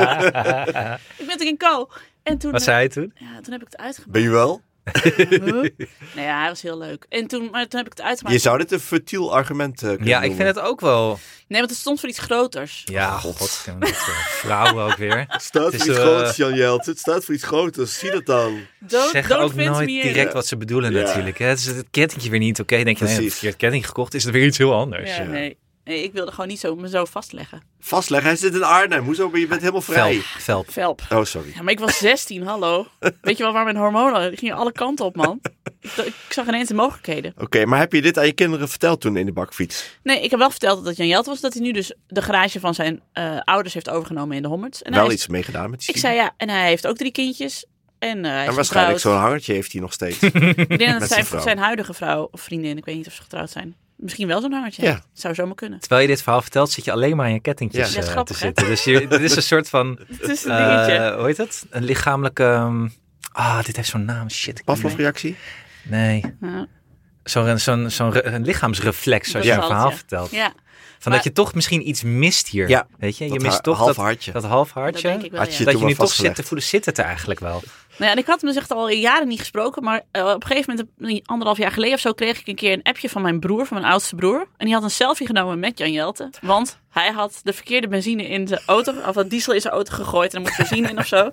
ik ben toch geen ko? En toen,
Wat zei hij toen?
ja, toen heb ik het uitgemaakt.
Ben je wel?
Nou ja, hij was heel leuk. En toen, maar toen heb ik het uitgemaakt.
Je zou dit een futiel argument eh, kunnen
Ja, ik vind
noemen.
het ook wel...
Nee, want het stond voor iets groters.
Ja, god. dat, eh, vrouwen ook weer.
Het staat
Het
voor
is,
iets
eh,
groots, Jan Jelt. Het staat voor iets groots. Zie dat dan.
Don't,
Zeggen
don't
ook
vind
nooit
me in.
direct wat ze bedoelen
Ja.
natuurlijk. Hè? Het is het kettentje weer niet oké. denk je, nee,
Precies.
heb ik verkeerd ketting gekocht. Is het weer iets heel anders.
Ja, nee. nee, ik wilde gewoon niet zo, me zo vastleggen.
Vastleggen. Hij zit in Arnhem. Hoezo? ben Je bent helemaal vrij.
Velp, velp.
Velp.
Oh, sorry.
Ja, maar ik was 16, hallo. Weet je wel waar mijn hormonen... Die gingen alle kanten op, man. Ik, d- ik zag ineens de mogelijkheden.
Oké, maar heb je dit aan je kinderen verteld toen in de bakfiets?
Nee, ik heb wel verteld dat het Jan Jelt was. Dat hij nu dus de garage van zijn eh, ouders heeft overgenomen in de Hommerts. En hij
Wel
is-
iets mee gedaan met die
Nou, Ik
studie?
zei ja, en hij heeft ook drie kindjes. En, eh, hij is
En waarschijnlijk zo'n
getrouwd.
hangertje heeft hij nog steeds.
Ik denk dat het
met
zijn,
zijn vrouw.
zijn huidige vrouw of vriendin, ik weet niet of ze getrouwd zijn. Misschien wel zo'n hangertje.
Ja.
heeft. Zou zomaar kunnen.
Terwijl je dit verhaal vertelt, zit je alleen maar aan je
Ja.
kettingjes
Dat is
eh, te
grappig, hè?
zitten. Dus je, dit is een soort van...
Het is een dingetje.
eh hoe heet dat? Een lichamelijke... ehm, ah, dit heeft zo'n naam. Shit. ik-
Pavlov-reactie?
Nee.
Nou,
Zo'n zo'n zo'n re- een lichaamsreflex als
Dat
je
is
een
alles,
verhaal
ja.
vertelt.
ja,
Van
Maar-
dat je toch misschien iets mist hier.
Ja,
Weet je? Je
dat
mist
ha-
toch
half
dat,
hartje.
dat half
dat
hartje.
denk ik wel.
Had
Ja.
je-
dat je
toen
nu
wel
toch zit
vastgelegd.
te voelen, zit het er eigenlijk wel?
Nou ja, en ik had me dus echt al jaren niet gesproken. Maar eh, op een gegeven moment, een anderhalf jaar geleden of zo, kreeg ik een keer een appje van mijn broer, van mijn oudste broer. En die had een selfie genomen met Jan Jelte. Want hij had de verkeerde benzine in zijn auto, of wat diesel in zijn auto gegooid. En er moest benzine in of zo.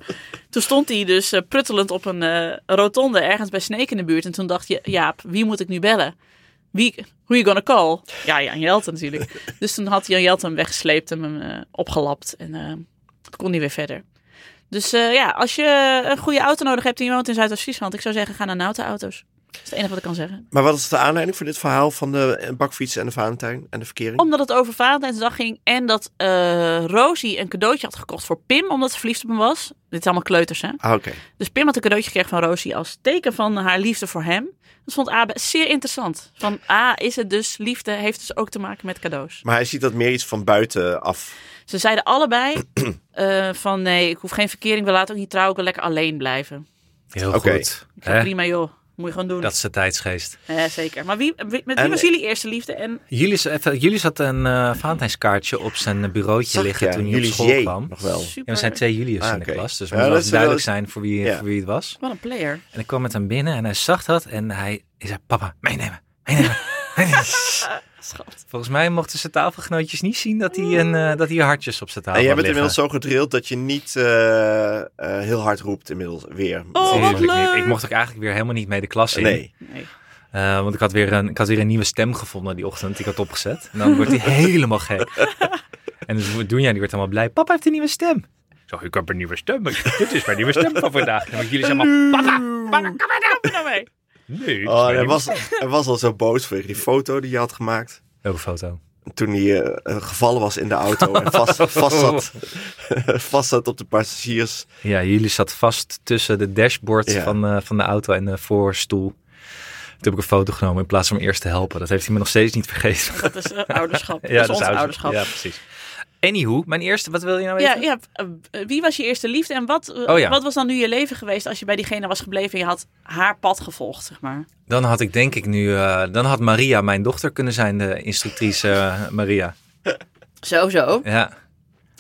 Toen stond hij dus eh, pruttelend op een eh, rotonde ergens bij Sneek in de buurt. En toen dacht je, Jaap, wie moet ik nu bellen? Wie, who you gonna call? Ja, Jan Jelte natuurlijk. Dus toen had Jan Jelte hem weggesleept en hem eh, opgelapt. En eh, toen kon hij weer verder. Dus eh, ja, als je een goede auto nodig hebt en je woont in Zuidoost-Friesland, ik zou zeggen, ga naar Nauta-auto's. Dat is het enige wat ik kan zeggen.
Maar wat is de aanleiding voor dit verhaal van de eh, bakfiets en de Valentijn en de verkering?
Omdat het over Valentijnsdag ging en dat eh Rosie een cadeautje had gekocht voor Pim, omdat ze verliefd op hem was. Dit is allemaal kleuters, hè?
Ah, oké.
Dus Pim had een cadeautje gekregen van Rosie als teken van haar liefde voor hem. Dat vond A zeer interessant. Van A, is het dus liefde, heeft dus ook te maken met cadeaus.
Maar hij ziet dat meer iets van buitenaf.
Ze zeiden allebei eh, van nee, ik hoef geen verkering, we laten ook niet trouwen, ik wil lekker alleen blijven.
Heel
Oké.
goed.
Ik zeg,
Hè?
prima joh. Moet je gewoon doen.
Dat is de tijdsgeest.
Eh, zeker. Maar wie, wie- met wie
En-
was jullie eerste liefde? En
Julius, even, Julius had een eh Valentijnskaartje op zijn eh, bureautje
Zag
liggen
je?
toen hij
Julius
op school
J.
kwam.
nog wel.
super.
Ja, we zijn twee Julius
Ah,
in de
oké.
klas, dus
Ja,
het moet
dat
wel
is wel-
duidelijk zijn voor wie,
Ja.
voor wie het was.
Wat een player.
En ik kwam met hem binnen en hij zag dat en hij, hij zei, papa, meenemen, meenemen. meenemen."
Schat.
Volgens mij mochten zijn tafelgenootjes niet zien dat hij, een, eh, dat hij hartjes op zijn tafel
En jij
had
bent
liggen.
inmiddels zo gedrild dat je niet eh, eh, heel hard roept inmiddels weer.
Oh, wat
Tuurlijk niet.
leuk.
Ik mocht ook eigenlijk weer helemaal niet mee de klas in.
Nee.
Nee.
Eh, want ik had, weer een, ik had weer een nieuwe stem gevonden die ochtend. Die ik had opgezet. En dan wordt hij helemaal gek. En dus wat doen jij? Die wordt helemaal blij. Papa heeft een nieuwe stem. Zo, ik heb een nieuwe stem. Dit is mijn nieuwe stem van vandaag. En jullie zijn allemaal, papa, papa,
Kom maar nou, kom maar nou mee.
nee. dit is
Oh, en
mijn
hij,
nieuwe
was, hij was al zo boos vanwege die foto die je had gemaakt.
stem." Welke foto?
Toen hij eh, eh, gevallen was in de auto en vast, vast, zat, vast zat op de passagiers.
Ja, jullie zat vast tussen de dashboard
Ja.
van, eh, van de auto en de voorstoel. Toen heb ik een foto genomen in plaats van hem eerst te helpen. Dat heeft hij me nog steeds niet vergeten.
Dat is eh, ouderschap. dat is ons
ouder-
ouderschap.
dus Ja, precies. Anywho, mijn eerste, wat wil je nou
Ja,
weten?
ja, eh, wie was je eerste liefde en wat, eh,
Oh ja.
wat was dan nu je leven geweest als je bij diegene was gebleven en je had haar pad gevolgd, zeg maar?
Dan had ik denk ik nu, eh, dan had Maria mijn dochter kunnen zijn, de instructrice eh, Maria.
Zo, zo.
Ja,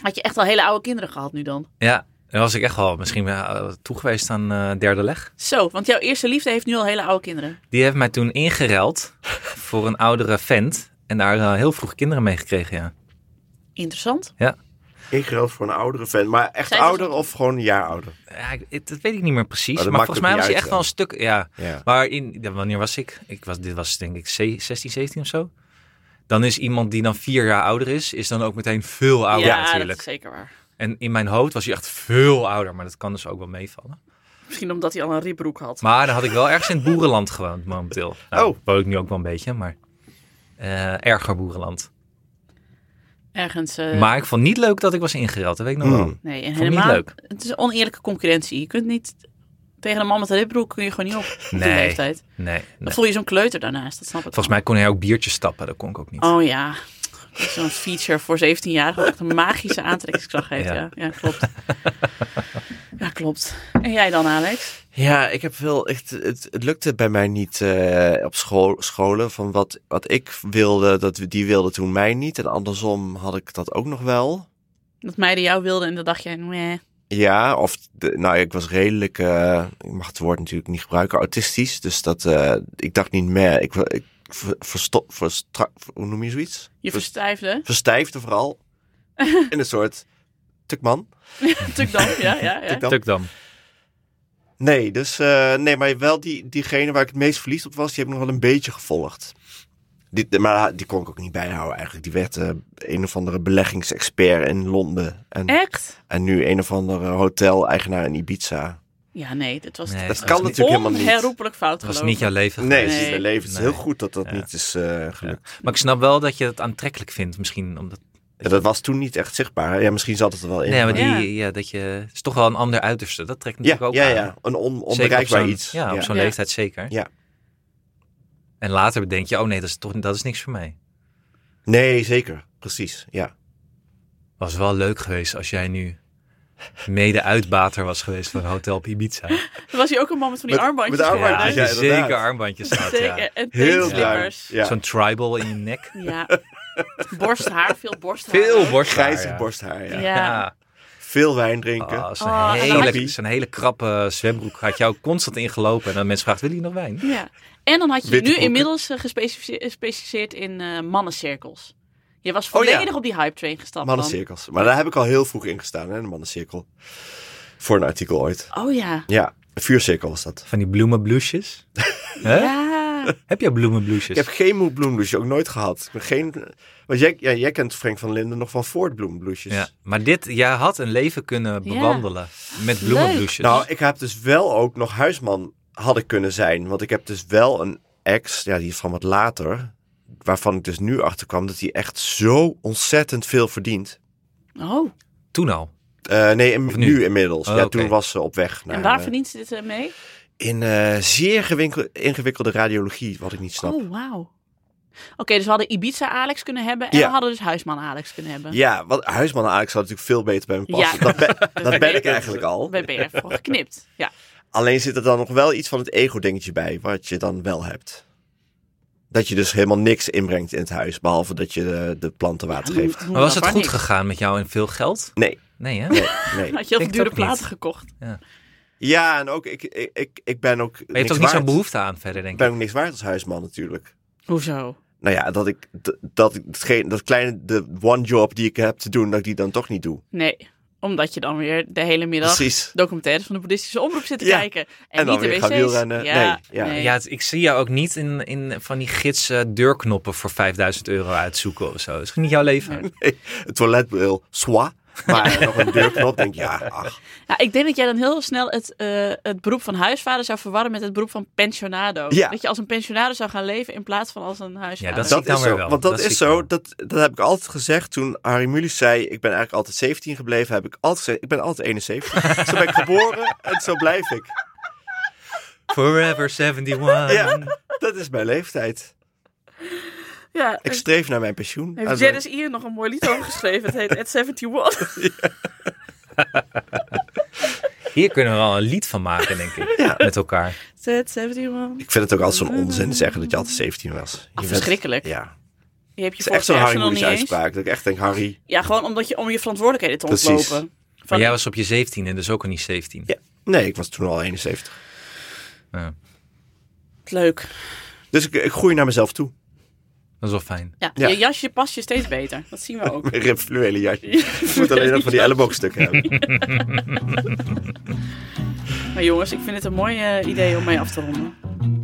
Had je echt al hele oude kinderen gehad nu dan?
ja. Dan was ik echt wel misschien wel toegeweest aan eh, derde leg.
Zo, want jouw eerste liefde heeft nu al hele oude kinderen.
Die heeft mij toen ingereld voor een oudere vent. En daar eh, heel vroeg kinderen mee gekregen, ja.
Interessant.
Ingereld voor een oudere fan. Maar echt
Zij was-
ouder of gewoon een jaar ouder?
ja ik- het- dat weet ik niet meer precies.
Maar
Maar,
Oh, dat maakt
volgens mij
ook
was
niet
hij
uit
echt wel een stuk, ja.
Ja.
Maar in, ja, wanneer was ik? ik was, dit was denk ik ze- 16, 17 of zo. Dan is iemand die dan vier jaar ouder is, is dan ook meteen veel ouder
ja, dat
natuurlijk.
is zeker waar.
En in mijn hoofd was hij echt veel ouder, maar dat kan dus ook wel meevallen.
Misschien omdat hij al een ribbroek had.
Maar dan had ik wel ergens in het boerenland gewoond momenteel. Nou,
Oh.
woon ik nu ook wel een beetje, maar eh, erger boerenland.
Ergens. eh,
Maar ik vond niet leuk dat ik was ingereld, dat weet ik nog wel.
Hmm.
nee, en
vond ik niet
helemaal.
leuk.
Het is een oneerlijke concurrentie. Je kunt niet. Tegen een man met een ribbroek kun je gewoon niet op. op die
Nee.
leeftijd. Dan
Nee, nee.
voel je zo'n kleuter daarnaast. Dat snap ik.
Volgens mij kon hij ook biertjes stappen, dat kon ik ook niet.
Oh ja. Dat is Zo'n feature voor 17-jarigen. wat Echt een magische aantrekkingskracht heeft. Ja.
Ja.
Ja. klopt. Ja, klopt. En jij dan, Alex?
Ja, ik heb wel echt. Het, het lukte bij mij niet eh, op school, scholen. Van wat, wat ik wilde, dat, die wilde toen mij niet. En andersom had ik dat ook nog wel.
Dat meiden jou wilden en dat dacht jij. Nee.
Ja, of de- nou, ja, ik was redelijk. eh, ik mag het woord natuurlijk niet gebruiken, autistisch. Dus dat. eh, ik dacht niet meer. Ik, wa- ik ver- versto- verstra- hoe noem je zoiets?
Je
Vers-
verstijfde.
verstijfde vooral. In een soort. Tukman.
Natuurlijk dan. Ja, ja, ja.
Tukdam.
Tuk dan.
Nee, dus eh, nee, maar wel die, diegene waar ik het meest verliefd op was, die heb ik nog wel een beetje gevolgd. Die, maar die kon ik ook niet bijhouden eigenlijk. Die werd eh, een of andere beleggingsexpert in Londen. En,
Echt?
en nu een of andere hotel-eigenaar in Ibiza.
Ja, nee. Dit was
Nee,
Dat
dat
kan
is niet-
natuurlijk helemaal niet.
onherroepelijk fout
Dat was
geloof
niet jouw leven.
Nee,
Nee.
het is mijn leven. Het is
Nee.
heel goed dat dat
Ja.
niet is eh, gelukt.
Maar ik snap wel dat je het aantrekkelijk vindt, misschien. Omdat,
Ja, dat was toen niet echt zichtbaar. hè. Ja, misschien zat het er wel in.
nee, maar die,
Ja.
ja. dat je, het is toch wel een ander uiterste. Dat trekt
ja,
natuurlijk ook
ja,
aan.
ja, een on,
Zeker op
onbereikbaar
zo'n-
iets.
Ja, op zo'n
Ja.
leeftijd zeker.
Ja.
En later bedenk je, oh nee, dat is, toch, dat is niks voor mij.
Nee, zeker. Precies, ja.
Was wel leuk geweest als jij nu mede-uitbater was geweest van Hotel op Ibiza.
Er was hier ook een moment van die
Met-
armbandjes.
met de
erbij,
armbandjes,
hè?
als je
ja, inderdaad.
zeker armbandjes had,
dus- Zeker.
ja.
En
Heel duidelijk.
teenslippers.
Ja.
Zo'n tribal in je nek.
Ja. Borsthaar, veel borsthaar.
Veel
ook.
borsthaar.
Grijzig
ja.
borsthaar, ja.
Ja.
Ja.
Veel wijn drinken.
Oh, zo'n
Oh, en dan
had je-
hele, zo'n hele krappe zwembroek had jou constant ingelopen. En dan mensen vragen, wil je nog wijn?
Ja. En dan had je
Witte
nu
broeken.
inmiddels eh, gespecifice- gespecialiseerd in eh, mannencirkels. Je was
Oh, ja.
volledig op die hype train gestapt. dan.
Mannencirkels. Maar daar heb ik al heel vroeg in gestaan, hè, de mannencirkel. Voor een artikel ooit.
Oh ja.
Ja, een vuurcirkel was dat.
Van die bloemenbloesjes. Hè?
Ja.
Heb jij bloemenbloesjes?
Ik heb geen moedbloembloesje, ook nooit gehad. Ik ben geen... Want jij, ja, jij kent Frank van Linden nog van voortbloembloesjes.
Ja, maar dit, jij had een leven kunnen
Ja.
bewandelen met bloemenbloesjes.
Nou, ik heb dus wel ook nog huisman hadden kunnen zijn. Want ik heb dus wel een ex, ja, die is van wat later. Waarvan ik dus nu achterkwam dat hij echt zo ontzettend veel verdient.
Oh.
Toen al.
Eh, nee, in-
Of
nu?
nu?
inmiddels.
Oh,
ja,
oké.
toen was ze op weg naar...
en waar
eh,
verdient ze dit eh, mee?
In eh, zeer gewinkel- ingewikkelde radiologie, wat ik niet snap.
Oh, wauw. Oké, dus we hadden Ibiza Alex kunnen hebben. En
Ja.
we hadden dus Huisman Alex kunnen hebben.
Ja, want huisman Alex zou natuurlijk veel beter bij me
Ja.
passen. Dat, ben, dat ben ik
Ja.
eigenlijk al.
Bij BR voor geknipt. Ja.
Alleen zit er dan nog wel iets van het ego-dingetje bij, wat je dan wel hebt. Dat je dus helemaal niks inbrengt in het huis, behalve dat je de, de planten water geeft.
Maar was
dat
het goed
niet.
gegaan met jou en veel geld?
Nee,
Nee, hè?
nee, nee.
Had je al die
Ik
dure
ook niet.
platen gekocht?
Ja, en ook, ik, ik, ik, ik ben ook
Maar je
niks
hebt ook niet
waard.
zo'n behoefte aan verder,
Ik
denk
ben
ik.
ook niks waard als huisman natuurlijk.
Hoezo?
Nou ja, dat ik d- dat, ik hetgeen- dat kleine, de one job die ik heb te doen, dat ik die dan toch niet doe.
Nee, omdat je dan weer de hele middag
Precies.
documentaires van de boeddhistische omroep zit te
Ja.
kijken. En,
En dan
niet de
weer
wc's.
gaan wielrennen.
Ja,
Nee, ja.
Ja, het- ik zie jou ook niet in, in van die gids eh, deurknoppen voor 5000 euro uitzoeken of zo. Dat is niet jouw leven.
Een toiletbril, swa. Maar nog een deurknop, denk ik, ja, ach.
Ja, Nou, ik denk dat jij dan heel snel het, eh, het beroep van huisvader zou verwarren met het beroep van pensionado.
Ja.
Dat je als een pensionado zou gaan leven in plaats van als een huisvader.
dat is-
Dat
ik dan
is
weer
zo.
wel.
Want dat,
Dat zie
is
ik
zo.
wel.
Dat, dat heb ik altijd gezegd toen Harry Mulisch zei: Ik ben eigenlijk altijd 17 gebleven. Heb ik altijd gezegd: Ik ben altijd 71. zo ben ik geboren en zo blijf ik.
Forever 71.
Ja, dat is mijn leeftijd.
Ja,
Ik streef naar mijn pensioen. En
heeft
dan-
Janice Ian nog een mooi lied over geschreven. Het heet At 71.
Hier kunnen we wel een lied van maken, denk ik. Met elkaar.
At 71.
Ik vind het ook altijd zo'n onzin zeggen dat je altijd 17 was. Je bent-
verschrikkelijk.
Ja.
Je hebt je
Het is echt zo'n
vorig
Harry
jaar nog niet
Mulisch
eens.
uitspraak. Dat ik echt denk: Harry.
Ja, gewoon omdat je, om je verantwoordelijkheden te
Precies.
ontlopen. Van,
Maar jij was op je 17 en dus ook al niet 17.
Ja. Nee, ik was toen al 71.
Ja,
Leuk.
Dus ik, ik groei naar mezelf toe.
dat is wel fijn.
Ja,
Ja.
Je jasje past je steeds beter. Dat zien we ook.
Mijn ribfluwelen jasje. Ik moet alleen nog van die elleboogstukken hebben.
Maar jongens, ik vind het een mooi eh, idee om mee af te ronden.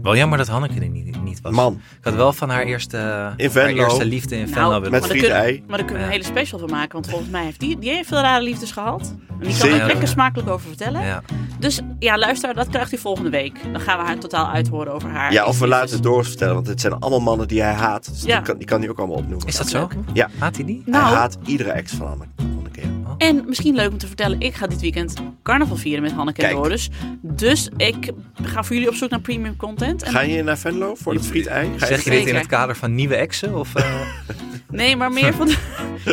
Wel jammer dat Hanneke er niet, niet was.
Man.
Ik had wel van haar eerste,
In
haar
Venlo.
eerste liefde in Venlo
Nou, maar
willen
met
daar
horen.
friet
kunnen-
ei.
Maar daar kunnen we een
Ja.
hele special van maken. Want volgens mij heeft die, die heeft veel rare liefdes gehad. En die kan
Zeker.
er lekker smakelijk over vertellen.
Ja.
Dus ja, luister, dat krijgt u volgende week. Dan gaan we haar totaal uithoren over haar.
Ja, of we
liefdes.
laten het doorvertellen, want het zijn allemaal mannen die hij haat. Dus
Ja.
die, kan, die kan hij ook allemaal opnoemen.
Is dat zo?
Ja.
Haat hij die?
Nou,
Hij haat iedere ex van Anne. Anne keer.
en misschien leuk om te vertellen. Ik ga dit weekend carnaval vieren met Hanneke en
Kijk.
Doris. Dus ik ga voor jullie op zoek naar premium content. En
Ga je naar Venlo voor het frietei? Ga je
Zeg je dit in
Zeker.
het kader van nieuwe exen? Of, eh,
Nee, maar meer van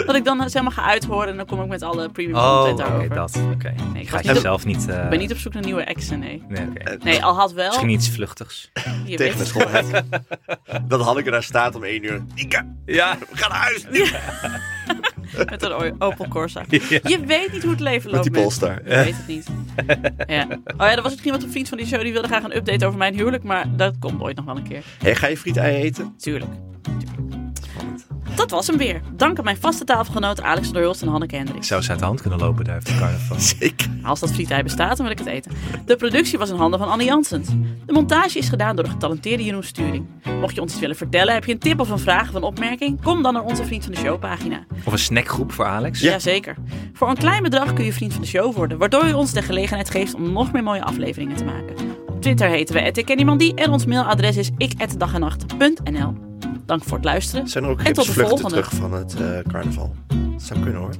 dat ik dan eh, zeg maar ga uithoren. En dan kom ik met alle premium
Oh,
content
oké,
daarover.
dat. Oké.
ik
Ga
was
je
niet-
zelf niet... eh,
Ik ben niet Oh. op zoek naar nieuwe exen, nee.
Nee, oké.
Nee, al had wel.
Misschien iets vluchtigs.
Je
tegen de
weet-
schoolhek? Dat Hanneke daar staat om één uur. Ike,
Ja.
we gaan naar huis.
Met een o- Opel Corsa. Je weet niet hoe het leven
Met
loopt.
die
mensen.
polstar.
Je weet het niet. Ja. Oh ja, er was misschien wat een vriend van die show die wilde graag een update over mijn huwelijk, maar dat komt ooit nog wel een keer.
Hey, ga je frietei eten?
Tuurlijk. Dat was hem weer. Dank aan mijn vaste tafelgenoten Alex van der Hulst en Hanneke
Ik
Hendricks.
zou ze uit de hand kunnen lopen daar op de carnaval.
Ik.
Als dat frietij bestaat, dan wil ik het eten. De productie was in handen van Anne Janssens. De montage is gedaan door de getalenteerde Jeroen Sturing. Mocht je ons iets willen vertellen, heb je een tip of een vraag of een opmerking, kom dan naar onze Vriend van de Show pagina.
Of een snackgroep voor Alex.
Jazeker. Voor een klein bedrag kun je vriend van de show worden, waardoor je ons de gelegenheid geeft om nog meer mooie afleveringen te maken. Op Twitter heten we @ikkenniemandie en ons mailadres is ik@dagenacht.nl. Dank voor het luisteren.
Zijn er ook
en tot de
gipsvluchten
volgende.
terug van het eh, carnaval? Dat zou kunnen hoor.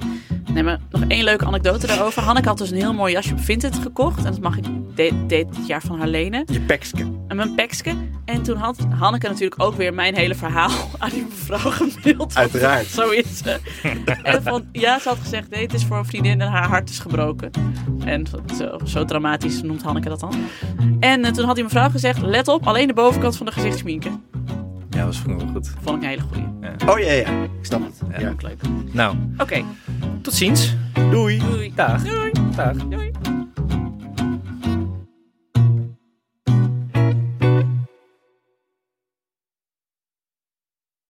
Nee, maar nog één leuke anekdote daarover. Hanneke had dus een heel mooi jasje op Vinted gekocht en dat mag ik de- dit jaar van haar lenen.
Je pekske.
En mijn pekske. En toen had Hanneke natuurlijk ook weer mijn hele verhaal aan die mevrouw gemaild. want
Uiteraard.
Zo is ze. en van, ja, ze had gezegd, nee, het is voor een vriendin en haar hart is gebroken. En zo, zo dramatisch noemt Hanneke dat dan. En eh, toen had die mevrouw gezegd, let op, alleen de bovenkant van de gezicht sminken.
Ja, dat was gewoon wel goed.
Vond ik een hele goeie.
Oh ja, ja. Ik snap het. Ja.
Ook leuk.
Nou,
Oké,
tot ziens.
Doei.
doei.
Dag.
Doei.
Dag.
Doei.